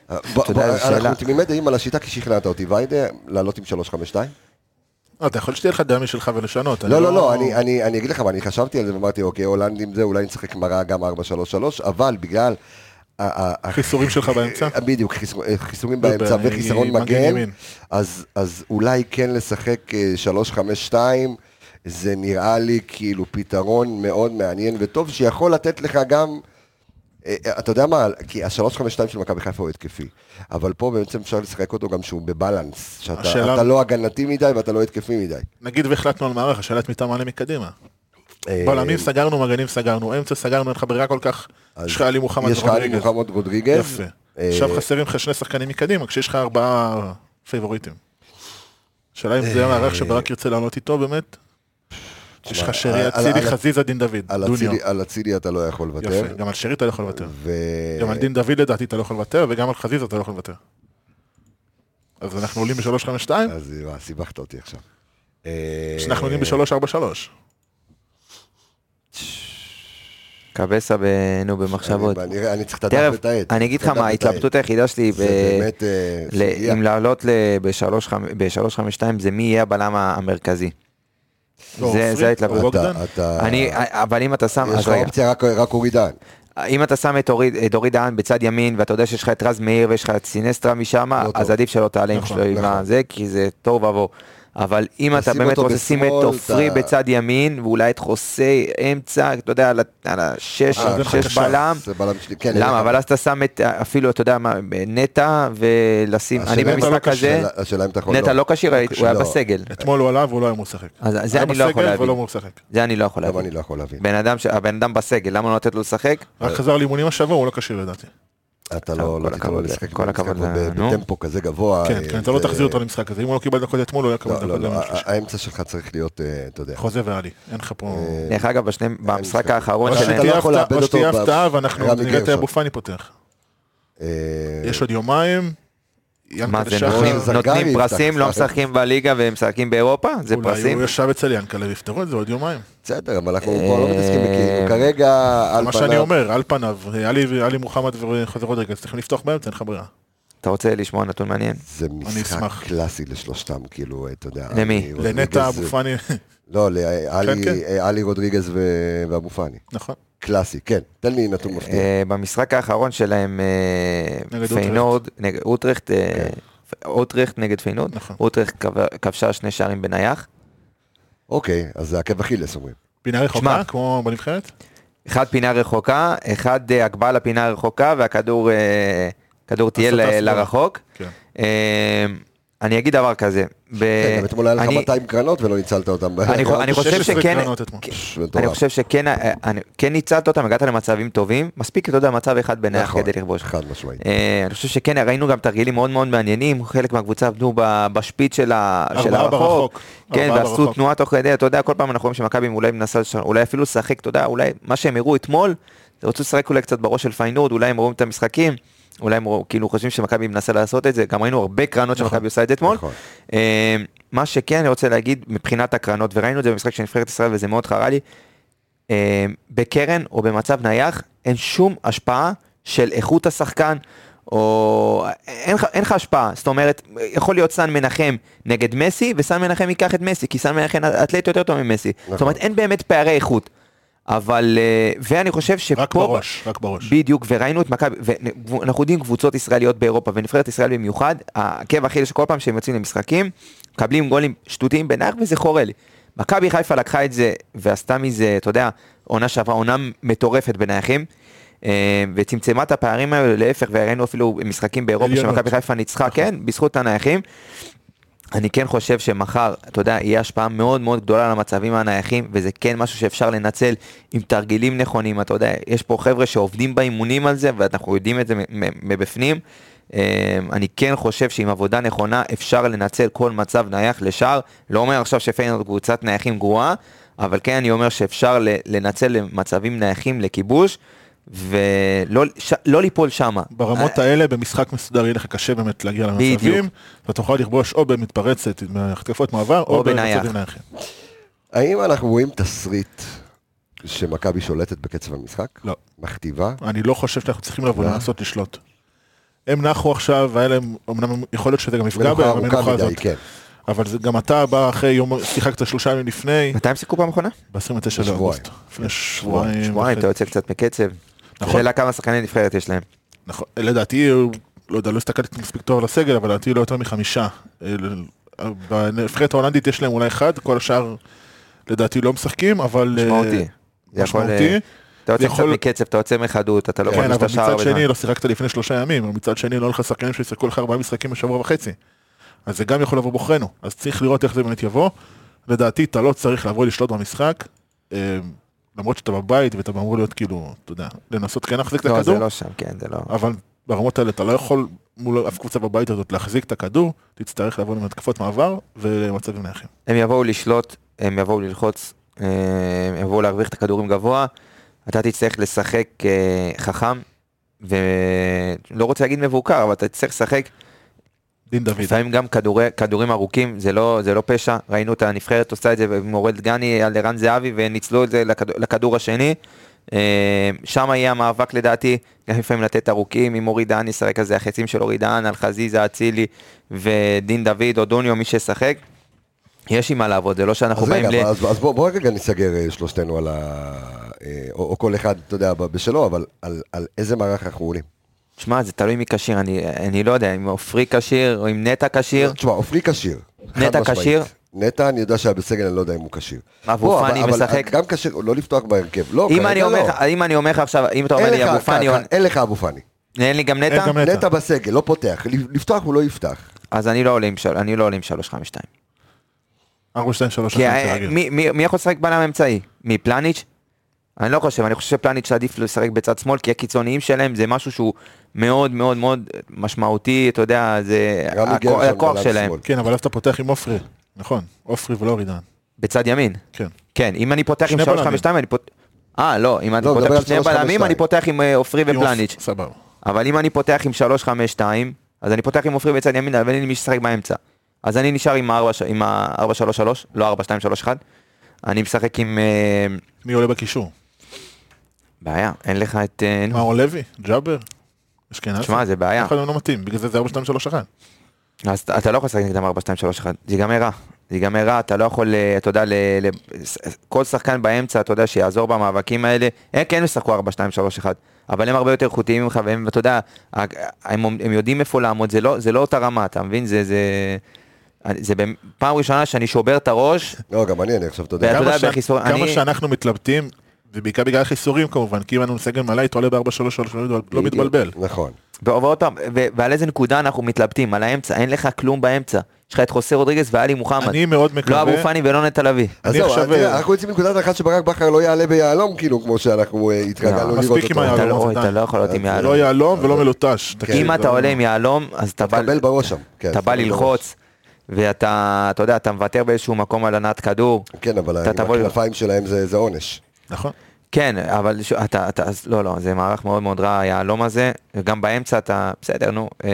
Speaker 2: אה,
Speaker 1: אה, בוא-
Speaker 2: אתה יודע,
Speaker 1: בוא,
Speaker 2: זו שאלה.
Speaker 1: אנחנו תמימי דעים על השיטה כי שכנעת אותי, ויידה, לעלות עם 3-5-2?
Speaker 3: אה, אתה יכול שתהיה לך דעה משלך ולשנות. אני
Speaker 1: לא, לא, לא, אני- אני אני אגיד לך מה, אני חשבתי על זה ואמרתי, אוקיי, הולנדים זה, אולי נשחק מראה גם 4-3-3, אבל בגלל... ה- ה- ה-
Speaker 3: חיסורים שלך באמצע?
Speaker 1: בדיוק, חיסור- חיסורים
Speaker 3: לא,
Speaker 1: באמצע
Speaker 3: ב-
Speaker 1: וחיסרון
Speaker 3: מגן
Speaker 1: מגן,
Speaker 3: ימין.
Speaker 1: אז, אז אולי כן לשחק אה, 3-5-2, זה נראה לי כאילו פתרון מאוד מעניין וטוב, שיכול לתת לך גם, אה, אתה יודע מה, כי ה-3-5-2 של מכבי חיפה הוא התקפי, אבל פה בעצם אפשר לשחק אותו גם שהוא בבלנס, שאתה
Speaker 3: השאלה-
Speaker 1: אתה לא הגנתי מדי ואתה לא התקפי מדי.
Speaker 3: נגיד והחלטנו על מערך, השאלה את מי אתה מעלה מקדימה.
Speaker 1: אה,
Speaker 3: בלמים סגרנו, מגנים סגרנו, אמצע סגרנו, אין לך ברירה כל כך.
Speaker 1: אז
Speaker 3: יש לך עלי מוחמד
Speaker 1: יש לך עלי
Speaker 3: רודריגז.
Speaker 1: מוחמד רודריגז.
Speaker 3: יפה.
Speaker 1: אה,
Speaker 3: עכשיו חסרים לך שני שחקנים מקדימה, כשיש לך ארבעה פייבוריטים. השאלה אם
Speaker 1: אה.
Speaker 3: זה המערך שברק ירצה לעלות איתו באמת? יש לך
Speaker 1: על-
Speaker 3: שרי
Speaker 1: על-
Speaker 3: אצילי,
Speaker 1: על-
Speaker 3: חזיזה, דין דוד,
Speaker 1: על
Speaker 3: דוניו.
Speaker 1: אצילי- על אצילי אתה לא יכול לוותר.
Speaker 3: יפה, גם על שרי אתה לא יכול לוותר.
Speaker 1: ו-
Speaker 3: גם על דין דוד לדעתי אתה לא יכול לוותר, וגם על חזיזה אתה לא יכול לוותר. אז אנחנו עולים ב-352,
Speaker 1: אז אה, סיבכת אותי עכשיו. אה,
Speaker 3: אנחנו עולים ב-343.
Speaker 2: קבסה ב- נו, במחשבות.
Speaker 1: אני- אני אני צריך את הדף
Speaker 2: תכף,
Speaker 1: ואת העט.
Speaker 2: אני אגיד לך
Speaker 1: הדף
Speaker 2: מה,
Speaker 1: ואת העט.
Speaker 2: ההתלבטות היחידה שלי,
Speaker 1: זה
Speaker 2: ב-
Speaker 1: באמת אה,
Speaker 2: ל-
Speaker 1: סוגיה.
Speaker 2: אם לעלות ב-352 זה מי יהיה הבלם המרכזי.
Speaker 3: לא,
Speaker 2: זה-
Speaker 3: עופרי,
Speaker 2: זה ההתלבטות.
Speaker 3: או בוגדן?
Speaker 1: אתה- אתה-
Speaker 2: אני, אבל אם אתה שם,
Speaker 1: יש
Speaker 2: אז
Speaker 1: לך
Speaker 2: רגע,
Speaker 1: אופציה רק- רק אורי דן.
Speaker 3: אה,
Speaker 2: אם אתה שם את אורי- את דורי דהן בצד ימין, ואתה יודע שיש לך את רז מאיר ויש לך את סינסטרה משם,
Speaker 1: לא
Speaker 2: אז
Speaker 1: טוב.
Speaker 2: עדיף שלא תעלה עם
Speaker 3: נכון,
Speaker 2: שלו עם
Speaker 1: נכון.
Speaker 2: הזה, כי זה תוהו ובוהו. אבל אם אתה
Speaker 1: תשים
Speaker 2: באמת
Speaker 1: אותו
Speaker 2: רוצה לשים את
Speaker 1: בשמאל,
Speaker 2: עופרי
Speaker 1: אתה-
Speaker 2: בצד ימין, ואולי את חוסה אמצע, אתה יודע, על ה- על השש,
Speaker 1: אה,
Speaker 3: אז אין לך
Speaker 2: שש
Speaker 3: קשר.
Speaker 2: בלם.
Speaker 1: זה בלם שלי. כן, אין לך.
Speaker 2: למה? אבל אז אתה שם את, אפילו, אתה יודע מה, נטע, ולשים,
Speaker 1: השאלה
Speaker 2: אני
Speaker 1: אם אתה לא
Speaker 2: במשחק הזה,
Speaker 1: השאלה- השאלה אם אתה יכול...
Speaker 2: נטע לא כשיר, הוא היה
Speaker 1: לא.
Speaker 2: בסגל.
Speaker 3: אתמול הוא עלה והוא לא היה אמור לשחק.
Speaker 1: אה,
Speaker 2: אז זה
Speaker 3: היה
Speaker 2: אני לא יכול
Speaker 3: בסגל
Speaker 2: להבין.
Speaker 3: ולא אמור לשחק.
Speaker 2: זה אני לא יכול
Speaker 1: גם אני
Speaker 2: להבין.
Speaker 1: לא יכול להבין.
Speaker 2: בן אדם, ש- הבן אדם בסגל, למה לא לתת לו לשחק?
Speaker 1: אה,
Speaker 3: רק חזר לאימונים השבוע, הוא לא כשיר לדעתי.
Speaker 1: אתה
Speaker 2: טוב,
Speaker 1: לא
Speaker 2: כל
Speaker 1: לא תיתן לו
Speaker 2: הכבוד,
Speaker 1: לשחק
Speaker 2: כל
Speaker 1: במשחק
Speaker 2: הכבוד,
Speaker 1: ב-
Speaker 2: נו.
Speaker 1: בטמפו כזה גבוה.
Speaker 3: כן,
Speaker 1: אה,
Speaker 3: כן, אתה לא
Speaker 1: זה-
Speaker 3: תחזיר אותו למשחק הזה. אם הוא לא קיבל דקות אתמול, הוא לא יקבל
Speaker 1: לא,
Speaker 3: דקות
Speaker 1: לא, לא,
Speaker 3: ביום
Speaker 1: ה-
Speaker 3: שלישי.
Speaker 1: האמצע שלך צריך להיות, אה, אתה יודע.
Speaker 3: חוזה ועלי, אין לך פה...
Speaker 1: כן.
Speaker 2: דרך אגב, בשני- במשחק האחרון
Speaker 3: או
Speaker 1: אבל
Speaker 2: שלהם,
Speaker 1: אתה לא
Speaker 3: שתהיה
Speaker 1: יכול
Speaker 3: הפתעה-
Speaker 1: לאבד
Speaker 3: או
Speaker 1: אותו
Speaker 3: שתהיה
Speaker 1: ב-
Speaker 3: הפתעה ואנחנו
Speaker 1: רמי
Speaker 3: נראה את
Speaker 1: גרשון.
Speaker 3: אבו פאני פותח.
Speaker 1: אה,
Speaker 3: יש עוד יומיים.
Speaker 2: מה
Speaker 3: ינקלה
Speaker 2: זה,
Speaker 3: שחר,
Speaker 2: נותנים-
Speaker 1: זרגרי
Speaker 2: נותנים
Speaker 1: יפתח,
Speaker 2: פרסים, לא
Speaker 1: יפתח.
Speaker 2: משחקים בליגה ומשחקים באירופה? זה
Speaker 3: אולי
Speaker 2: פרסים?
Speaker 3: הוא ישב אצל ינקלה ויפתרו את זה עוד יומיים.
Speaker 1: בסדר, אבל אנחנו
Speaker 2: אה,
Speaker 1: פה לא מתעסקים בכאילו. כרגע, על
Speaker 3: מה שאני
Speaker 1: פניו...
Speaker 3: אומר, על פניו, עלי עלי מוחמד וחוזר רודריגז, צריכים לפתוח באמצע, אין לך ברירה.
Speaker 2: אתה רוצה לשמוע נתון מעניין?
Speaker 1: זה משחק
Speaker 3: אשמח.
Speaker 1: קלאסי לשלושתם, כאילו, אתה יודע.
Speaker 2: למי?
Speaker 1: עלי רודריגז אה.
Speaker 3: לנטע אבו
Speaker 1: ו-
Speaker 3: פאני,
Speaker 1: לא, לעלי
Speaker 3: כן,
Speaker 1: אה, עלי רודריגז ו- ואבו פאני.
Speaker 3: נכון.
Speaker 1: קלאסי, כן. תן לי נתון מפתיע.
Speaker 2: אה, במשחק האחרון שלהם, אה,
Speaker 3: נגד כן.
Speaker 2: פיינורד, נגד אוטרכט, אה, אוטרכט נגד פיינורד,
Speaker 3: נכון.
Speaker 2: אוטרכט כב- כבשה שני שערים בנייח,
Speaker 1: אוקיי, אז זה עקב אכילס אומרים.
Speaker 3: פינה
Speaker 2: שמע.
Speaker 3: רחוקה, כמו בנבחרת?
Speaker 2: אחד פינה רחוקה, אחד אה, הגבל לפינה הרחוקה והכדור אה, כדור טייל
Speaker 3: הסטה
Speaker 2: ל-
Speaker 3: שמאלה.
Speaker 2: לרחוק.
Speaker 3: כן.
Speaker 2: אה, אני אגיד דבר כזה, ב...
Speaker 1: כן, גם אתמול היה לך
Speaker 2: אני-
Speaker 1: 200 קרנות ולא ניצלת אותן.
Speaker 2: אני חו- אני חושב
Speaker 3: 16
Speaker 2: שכן-
Speaker 3: קרנות אתמול.
Speaker 1: ש-
Speaker 2: אני
Speaker 1: מטורף.
Speaker 2: חושב שכן אה, אני- כן ניצלת אותם, הגעת למצבים טובים, מספיק, אתה יודע, מצב אחד בנח
Speaker 1: נכון,
Speaker 2: כדי לכבוש.
Speaker 1: חד משמעית.
Speaker 2: אה, אני חושב שכן, ראינו גם תרגילים מאוד מאוד מעניינים, חלק מהקבוצה עבדו ב- בשפיץ של ה- של
Speaker 3: ארבעה
Speaker 2: הרחוק.
Speaker 3: ברחוק.
Speaker 2: כן,
Speaker 3: ארבעה
Speaker 2: ועשו
Speaker 3: ברחוק.
Speaker 2: תנועה תוך כדי, אתה יודע, כל פעם אנחנו רואים שמכבי אולי מנסה, לש- אולי אפילו לשחק, אתה יודע, אולי מה שהם הראו אתמול, זה רצו לשחק אולי קצת בראש של פיינורד, אולי הם רואים את המשחקים, אולי הם רוא- כאילו חושבים שמכבי מנסה לעשות את זה, גם ראינו הרבה קרנות שמכבי עושה את זה אתמול.
Speaker 1: נכון.
Speaker 2: אה, מה שכן אני רוצה להגיד מבחינת הקרנות, וראינו את זה במשחק של נבחרת ישראל וזה מאוד חרה לי, אה, בקרן או במצב נייח אין שום השפעה של איכות השחקן. או אין לך- אין לך השפעה, זאת אומרת, יכול להיות סן מנחם נגד מסי, וסן מנחם ייקח את מסי, כי סן מנחם אתלט יותר טוב ממסי.
Speaker 1: נכון.
Speaker 2: זאת אומרת, אין באמת פערי איכות. אבל, אה, ואני חושב שפה...
Speaker 3: רק בראש, רק בראש.
Speaker 2: בדיוק, וראינו את מכבי, ואנחנו יודעים קבוצות ישראליות באירופה, ונבחרת ישראל במיוחד, העקב אכיל שכל פעם שהם יוצאים למשחקים, מקבלים גולים שטותיים בנח וזה חורה לי. מכבי חיפה לקחה את זה, ועשתה מזה, אתה יודע, עונה שעברה, עונה מטורפת בנייחים, אה, וצמצמה את הפערים האלה להפך, וראינו אפילו משחקים באירופה
Speaker 3: עליונות. נכון.
Speaker 2: שמכבי חיפה ניצחה, כן, בזכות הנייחים. אני כן חושב שמחר, אתה יודע, יהיה השפעה מאוד מאוד גדולה על המצבים הנייחים, וזה כן משהו שאפשר לנצל עם תרגילים נכונים, אתה יודע, יש פה חבר'ה שעובדים באימונים על זה, ואנחנו יודעים את זה מ- מ- מבפנים. אמ, אני כן חושב שעם עבודה נכונה אפשר לנצל כל מצב נייח לשער. לא אומר עכשיו שפיינרד קבוצת נייחים גרועה, אבל כן אני אומר שאפשר ל- לנצל מצבים נייחים לכיבוש, ולא ש- לא ליפול שמה.
Speaker 3: ברמות האלה במשחק מסודר יהיה לך קשה באמת להגיע למצבים,
Speaker 2: אה. בדיוק.
Speaker 3: ואתה תוכל לכבוש או במתפרצת, בהתקפות מעבר,
Speaker 2: או
Speaker 3: או
Speaker 2: בנייח.
Speaker 3: במצבים נייחים.
Speaker 1: האם אנחנו רואים תסריט שמכבי שולטת בקצב המשחק?
Speaker 3: לא.
Speaker 1: מכתיבה?
Speaker 3: אני לא חושב שאנחנו צריכים לבוא
Speaker 1: לא.
Speaker 3: לנסות לשלוט. הם נחו עכשיו, והיה להם, אמנם יכול להיות שזה גם יפגע
Speaker 1: מנוחה
Speaker 3: בהם,
Speaker 1: ארוכה
Speaker 3: המנוחה
Speaker 1: מדי,
Speaker 3: הזאת.
Speaker 1: כן.
Speaker 3: אבל זה גם אתה בא אחרי יום, שיחקת שלושה ימים לפני,
Speaker 2: מתי הם שיחקו פעם אחרונה?
Speaker 3: ב-29
Speaker 1: שבועיים.
Speaker 3: לאוגוסט. לפני שבועיים.
Speaker 2: שבועיים,
Speaker 3: וחצי.
Speaker 2: אתה יוצא קצת מקצב.
Speaker 3: נכון.
Speaker 2: שאלה כמה שחקני נבחרת יש להם.
Speaker 3: נכון, לדעתי, הוא- לא יודע, לא הסתכלתי מספיק טוב על הסגל, אבל לדעתי לא יותר מחמישה. אה, בנבחרת ההולנדית יש להם אולי אחד, כל השאר לדעתי לא משחקים, אבל... אה,
Speaker 2: משמעותי. זה יכול, אה,
Speaker 3: משמעותי.
Speaker 2: אתה יוצא
Speaker 3: זה יכול-
Speaker 2: קצת מקצב, אתה יוצא מחדות, אתה לא
Speaker 3: כן,
Speaker 2: יכול
Speaker 3: אבל
Speaker 2: את השער.
Speaker 3: מצד
Speaker 2: הרבה זמן.
Speaker 3: שני, לא שיחקת לפני שלושה ימים, אבל מצד שני, לא היו לך שחקנים שישחקו לך ארבעה משחקים בשבוע וחצי. אז זה גם יכול לבוא בעוכרינו. אז צריך לראות איך זה באמת יבוא. לדעתי, אתה לא צריך לבוא לשלוט במשחק, אה, למרות שאתה בבית ואתה אמור להיות כאילו, אתה יודע, לנסות כן להחזיק את
Speaker 2: לא, זה
Speaker 3: הכדור,
Speaker 2: לא שם, כן, זה לא...
Speaker 3: אבל ברמות האלה אתה לא יכול מול אף קבוצה בבית הזאת להחזיק את הכדור, תצטרך לבוא עם התקפות מעבר ולמצבים נייחים.
Speaker 2: הם יבואו לשלוט, הם יבואו ללחוץ, אה, הם יבואו להרוויח את הכדורים גבוה, אתה תצטרך לשחק אה, חכם, ולא רוצה להגיד מבוקר, אבל אתה תצטרך לשחק
Speaker 3: דין דוד.
Speaker 2: לפעמים גם כדורי, כדורים ארוכים, זה לא, זה לא פשע, ראינו את הנבחרת עושה את זה במורד דגני על ערן זהבי וניצלו את זה לכדור, לכדור השני. אה, שם יהיה המאבק לדעתי, גם לפעמים לתת ארוכים, אם אורי דהן ישחק על זה, החצים של אורי דהן, על חזיזה, אצילי ודין דוד או דוניו, מי שישחק, יש עם מה לעבוד, זה לא שאנחנו
Speaker 1: אז
Speaker 2: באים
Speaker 1: רגע,
Speaker 2: ל...
Speaker 1: אז אז בוא בוא רגע נסגר אה, שלושתנו על ה... אה, או או כל אחד, אתה יודע, ב- בשלו, אבל על- על איזה מערך אנחנו עולים?
Speaker 2: שמע, זה תלוי מי כשיר, אני, אני לא יודע, אם עופרי כשיר או אם נטע כשיר,
Speaker 1: תשמע, עופרי כשיר. חד
Speaker 2: נטע
Speaker 1: משמעית.
Speaker 2: כשיר?
Speaker 1: נטע, אני יודע שהיה בסגל, אני לא יודע אם הוא כשיר.
Speaker 2: אבו
Speaker 1: בוא,
Speaker 2: פאני
Speaker 1: אבל- אבל
Speaker 2: משחק?
Speaker 1: גם כשיר, לא לפתוח בהרכב. לא,
Speaker 2: אם
Speaker 1: כרגע
Speaker 2: אני אומר
Speaker 1: לא.
Speaker 2: לך- אם אני אומר לך עכשיו, אם אתה אומר
Speaker 1: אין
Speaker 2: לי
Speaker 1: לך-
Speaker 2: אבו פאני, או-
Speaker 1: ככה, אין לך אבו פאני.
Speaker 2: אין לי גם נטע,
Speaker 3: אין גם נטע.
Speaker 1: נטע בסגל, לא פותח. לפתוח הוא לא יפתח.
Speaker 2: אז אני לא עולה עם של- אני לא עולה עם 3-5-2.
Speaker 3: 4, 2, 3,
Speaker 2: כי ה- מי- מי מי יכול לשחק בלם אמצעי? מי, פלניץ'? אני לא חושב, אני חושב שפלניץ' עדיף לשחק בצד שמאל, כי הקיצוניים שלהם זה משהו שהוא מאוד מאוד מאוד משמעותי, אתה יודע, זה
Speaker 1: רמי
Speaker 2: הכ-
Speaker 1: גרשון
Speaker 2: הכוח
Speaker 1: בלם
Speaker 2: שלהם.
Speaker 1: שמאל.
Speaker 3: כן, אבל איפה אתה פותח עם עופרי? נכון, עופרי ולא אורי דהן.
Speaker 2: בצד ימין.
Speaker 3: כן.
Speaker 2: כן, אם אני פותח עם
Speaker 3: שני
Speaker 2: 3-5-2, אני פותח... אה, לא, אם אני
Speaker 1: לא,
Speaker 2: פותח
Speaker 1: מדבר
Speaker 2: עם
Speaker 1: על
Speaker 2: שני בלמים,
Speaker 1: 3-5-2.
Speaker 2: אני פותח עם אה, עופרי
Speaker 3: עם עופרי,
Speaker 2: ופלניץ'.
Speaker 3: סבבה.
Speaker 2: אבל אם אני פותח עם 3-5-2, אז אני פותח עם עופרי בצד ימין, אבל אין לי מי שישחק באמצע. אז אני נשאר עם ה-4-3-3, לא 4-2-3-1. אני משחק עם... אה,
Speaker 3: מי עולה בקישור?
Speaker 2: בעיה, אין לך את... אה, נו,
Speaker 3: מאור לוי? ג'אבר? אשכנזי?
Speaker 2: תשמע, זה בעיה.
Speaker 3: אף אחד מהם לא מתאים, בגלל זה זה 4, 2, 3, 1.
Speaker 2: אז אתה- אתה לא יכול לשחק נגדם 4-2-3-1, זה ייגמר רע. זה ייגמר רע, אתה לא יכול, אה, אתה יודע, ל- ל- ס- כל שחקן באמצע, אתה יודע, שיעזור במאבקים האלה. הם כן ישחקו 4-2-3-1, אבל הם הרבה יותר איכותיים ממך, והם, אתה יודע, ה- הם, הם יודעים איפה לעמוד, זה לא, זה לא אותה רמה, אתה מבין? זה, זה, זה במ- פעם ראשונה שאני שובר את הראש,
Speaker 1: לא, גם אני, אני עכשיו, אתה יודע.
Speaker 2: ואתה יודע,
Speaker 3: כמה שה-
Speaker 2: בחיסור-
Speaker 3: כמה
Speaker 2: אני-
Speaker 3: שאנחנו מתלבטים, ובעיקר בגלל חיסורים כמובן, כי אם אנו סגל מלא, אתה עולה ב-4, 3, 3, לא
Speaker 2: בדיוק.
Speaker 3: מתבלבל.
Speaker 1: נכון.
Speaker 2: ו- ועוד פעם, ו- ועל איזה נקודה אנחנו מתלבטים, על האמצע, אין לך כלום באמצע. יש לך את חוסה רודריגז ועלי מוחמד.
Speaker 3: אני מאוד
Speaker 2: לא
Speaker 3: מקווה...
Speaker 2: אבו פאני ולא נטע לביא.
Speaker 1: אז
Speaker 3: אני
Speaker 1: זהו,
Speaker 3: עכשיו,
Speaker 1: תראה,
Speaker 3: אה,
Speaker 1: אנחנו יוצאים מנקודת הנחה שברק בכר לא יעלה ביהלום, כאילו, כמו שאנחנו אה, התרגלנו
Speaker 2: לא,
Speaker 1: לראות
Speaker 3: מספיק עם
Speaker 1: אותו. אוקיי. כן,
Speaker 2: אתה
Speaker 3: היהלום.
Speaker 2: לא-
Speaker 3: אבל
Speaker 2: אתה
Speaker 3: עדיין.
Speaker 2: לא יכול לעלות עם
Speaker 3: לא
Speaker 2: יהלום.
Speaker 3: יהלום ולא מלוטש. תקשיב,
Speaker 2: אם אתה
Speaker 3: לא-
Speaker 2: עולה עם יהלום, אז אתה בא...
Speaker 1: קבל בראש שם. כן,
Speaker 2: אתה בא
Speaker 1: קבל
Speaker 2: ללחוץ, ואתה, אתה יודע, אתה מוותר באיזשהו מקום על הנעת כדור.
Speaker 1: בראש. כן, אבל
Speaker 2: אתה
Speaker 1: עם
Speaker 2: תבוא-
Speaker 1: הכנפיים שלהם זה זה עונש.
Speaker 3: נכון.
Speaker 2: כן, אבל ש... אתה, אתה, אז לא, לא, זה מערך מאוד מאוד רע, היהלום הזה, גם באמצע אתה, בסדר, נו, אה,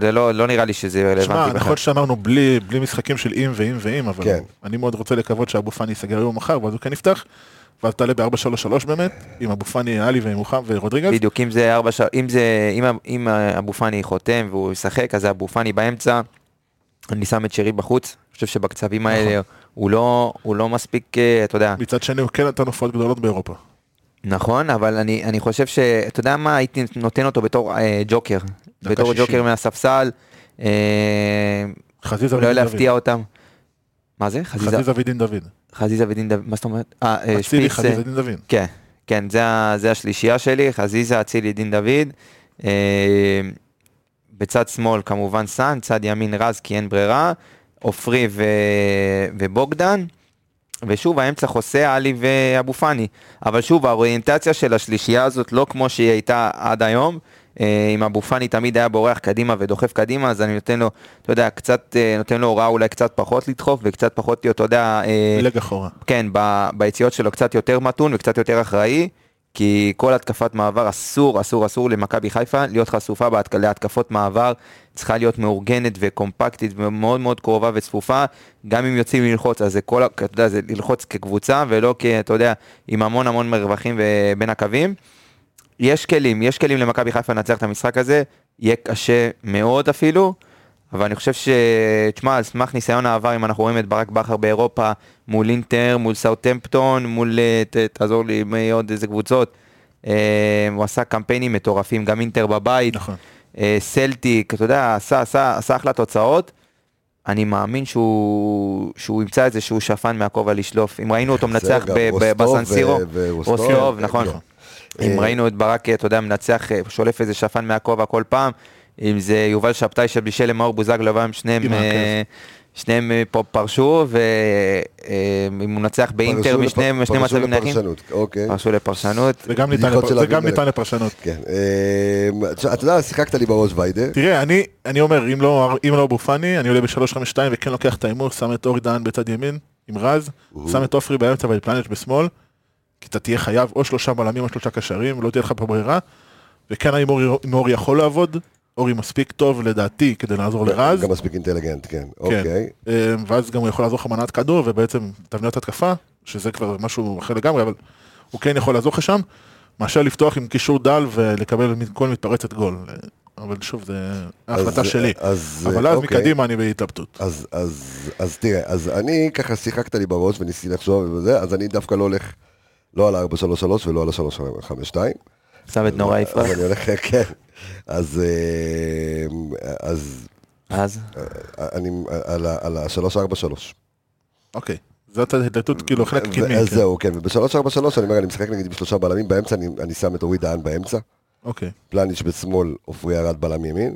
Speaker 2: זה לא, לא נראה לי שזה רלוונטי
Speaker 3: שמע,
Speaker 2: בכלל.
Speaker 3: נכון שאמרנו בלי בלי משחקים של אם ואם ואם, אבל
Speaker 1: כן.
Speaker 3: אני מאוד רוצה לקוות שאבו פאני ייסגר היום מחר, ואז הוא כן יפתח, ואז תעלה ב-4-3-3 באמת, עם אבו פאני, עלי ועם מוחמד ורודריגז.
Speaker 2: בדיוק, אם זה ארבע שעות, אם זה, אם, ה- אם ה- אבו פאני חותם והוא ישחק, אז אבו פאני באמצע, אני שם את שרי בחוץ, אני חושב שבקצבים האלה הוא לא, הוא לא מספיק, אה, אתה יודע,
Speaker 3: מצד שני הוא כן נתן הופעות גדולות באירופה.
Speaker 2: נכון, אבל אני, אני חושב ש... אתה יודע מה? הייתי נותן אותו בתור אה, ג'וקר. בתור
Speaker 3: 60.
Speaker 2: ג'וקר מהספסל. אה,
Speaker 3: חזיזה
Speaker 2: לא
Speaker 3: ודין דוד.
Speaker 2: להפתיע אותם. מה זה? חזיזה,
Speaker 3: חזיזה ודין דוד.
Speaker 2: חזיזה ודין דוד, מה זאת אומרת? אה, אה,
Speaker 3: אצילי
Speaker 2: שפיץ. אה,
Speaker 3: חזיזה דין דוד.
Speaker 2: כן, כן, זה, ה- זה השלישייה שלי, חזיזה, אצילי, דין דוד. אה, בצד שמאל כמובן סאן, צד ימין רז כי אין ברירה, עופרי ו... ובוגדן. ושוב, האמצע חוסה עלי ואבו פאני. אבל שוב, האוריינטציה של השלישייה הזאת לא כמו שהיא הייתה עד היום. אה, אם אבו פאני תמיד היה בורח קדימה ודוחף קדימה, אז אני נותן לו, אתה יודע, קצת, אה, נותן לו הוראה אולי קצת פחות לדחוף וקצת פחות להיות, אתה יודע, אה,
Speaker 3: פלג אחורה.
Speaker 2: כן, ב, ביציאות שלו קצת יותר מתון וקצת יותר אחראי, כי כל התקפת מעבר אסור, אסור, אסור למכבי חיפה להיות חשופה בהתק... להתקפות מעבר, צריכה להיות מאורגנת וקומפקטית ומאוד מאוד קרובה וצפופה, גם אם יוצאים ללחוץ, אז זה כל, ה- אתה יודע, זה ללחוץ כקבוצה ולא כ... אתה יודע, עם המון המון מרווחים ו- בין הקווים. יש כלים, יש כלים למכבי חיפה לנצח את המשחק הזה, יהיה קשה מאוד אפילו, אבל אני חושב ש... תשמע, על סמך ניסיון העבר, אם אנחנו רואים את ברק בכר באירופה, מול אינטר, מול סאוטמפטון, מול... אה, ת, תעזור לי, מי עוד איזה קבוצות, אה, הוא עשה קמפיינים מטורפים, גם אינטר בבית,
Speaker 3: נכון.
Speaker 2: אה, סלטיק, אתה יודע, עשה, עשה, עשה אחלה תוצאות. אני מאמין שהוא, שהוא ימצא איזשהו שפן מהכובע לשלוף. אם ראינו אותו מנצח
Speaker 1: זה גם
Speaker 2: ב- ב-
Speaker 1: רוסטוב
Speaker 2: בסנסירו,
Speaker 1: ו- ורוסטוב,
Speaker 2: רוסטוב,
Speaker 1: כן,
Speaker 2: נכון.
Speaker 1: כן.
Speaker 2: אם
Speaker 1: אה,
Speaker 2: ראינו את ברק, אתה יודע, מנצח, אה, שולף איזה שפן מהכובע כל פעם, אם זה יובל שבתאי שבישל למאור בוזגלו, והיום שניהם,
Speaker 3: עם
Speaker 2: אה,
Speaker 3: הכיף.
Speaker 2: שניהם אה, פה פרשו, ואם הוא מנצח באינטר
Speaker 1: פרשו לפ-
Speaker 2: משניהם, שני
Speaker 1: פרשו
Speaker 2: מצבים נייחים,
Speaker 1: לפרשנות, אוקיי.
Speaker 2: פרשו לפרשנות.
Speaker 3: זה גם ניתן
Speaker 1: בדיחות
Speaker 3: לפר-
Speaker 1: של
Speaker 3: זה
Speaker 1: אביב
Speaker 3: גם
Speaker 1: מלך.
Speaker 3: ניתן לפרשנות.
Speaker 1: כן. אה, תשמע, אתה יודע, שיחקת לי בראש ויידר.
Speaker 3: תראה, אני, אני אומר, אם לא, אם לא אבו פאני, אני עולה ב-352 וכן לוקח את ההימור, שם את אורי דהן בצד ימין, עם רז, שם את עופרי באמצע ואת פלנט בשמאל, כי אתה תהיה חייב או שלושה בלמים או שלושה קשרים, לא תהיה לך פה ברירה, וכן ההימור עם אורי יכול לעבוד, אורי מספיק טוב לדעתי כדי לעזור לרז,
Speaker 1: כן, גם מספיק אינטליגנט, כן. אוקיי.
Speaker 3: אה, ואז גם הוא יכול לעזור לך מנת כדור, ובעצם תבניות התקפה, שזה כבר משהו אחר לגמרי, אבל הוא כן יכול לעזור לך שם, מאשר לפתוח עם קישור דל ולקבל מכל מתפרצת גול. אה, אבל שוב, זה ההחלטה
Speaker 1: אז-
Speaker 3: שלי.
Speaker 1: אז,
Speaker 3: אבל אז
Speaker 1: אוקיי.
Speaker 3: מקדימה אני בהתלבטות.
Speaker 1: אז, אז, אז תראה, אז אני ככה שיחקת לי בראש וניסיתי לחשוב וזה, אז אני דווקא לא הולך לא על ה-433 ולא על ה-352.
Speaker 2: שם את נורא יפרח.
Speaker 1: אז לא, אני הולך, כן. אז, אה, אז
Speaker 2: אז?
Speaker 1: אה, אני על ה- על ה-343.
Speaker 3: אוקיי. זאת ההתלבטות כאילו חלק קדמי.
Speaker 1: אז
Speaker 3: כן.
Speaker 1: זהו, כן, וב-343 אני אומר, אני משחק נגיד עם שלושה בלמים באמצע, אני, אני שם את אורי דהן באמצע,
Speaker 3: אוקיי.
Speaker 1: פלניץ' בשמאל, עופרי ארד בלם ימין.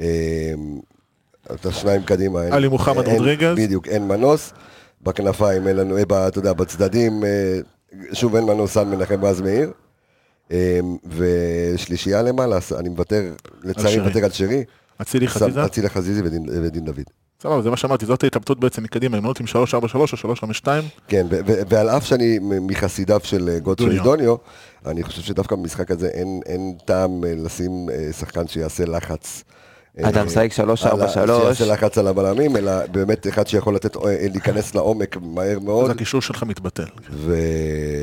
Speaker 1: אה, אתה שניים קדימה. אין-
Speaker 3: עלי מוחמד
Speaker 1: אין-
Speaker 3: רודריגז.
Speaker 1: בדיוק, אין מנוס. בכנפיים אין לנו, אה, ב- אתה יודע, בצדדים, אה, שוב אין מנוס, סן מנחם ואז מאיר. אה, ושלישייה למעלה, אז אני מוותר, לצערי
Speaker 3: שרי.
Speaker 1: מוותר על שרי.
Speaker 3: אצילי חזיזה?
Speaker 1: שם אצילי חזיזי ודין, ודין דוד.
Speaker 3: סבבה, זה מה שאמרתי, זאת ההתלבטות בעצם מקדימה, אם לא עולים 343 או 352,
Speaker 1: כן, ו- ו- ועל אף שאני מ- מחסידיו של אה, גוטפריד
Speaker 3: דוניו.
Speaker 1: דוניו, אני חושב שדווקא במשחק הזה אין, אין טעם אה, לשים אה, שחקן שיעשה לחץ. אה,
Speaker 2: אתה משחק
Speaker 1: על ה- שיעשה
Speaker 2: 3-4-3.
Speaker 1: לחץ על הבלמים, אלא באמת אחד שיכול לתת, אה, אה, להיכנס לעומק מהר
Speaker 3: אז אוקיי.
Speaker 1: מאוד.
Speaker 3: הקישור שלך מתבטל.
Speaker 1: ו...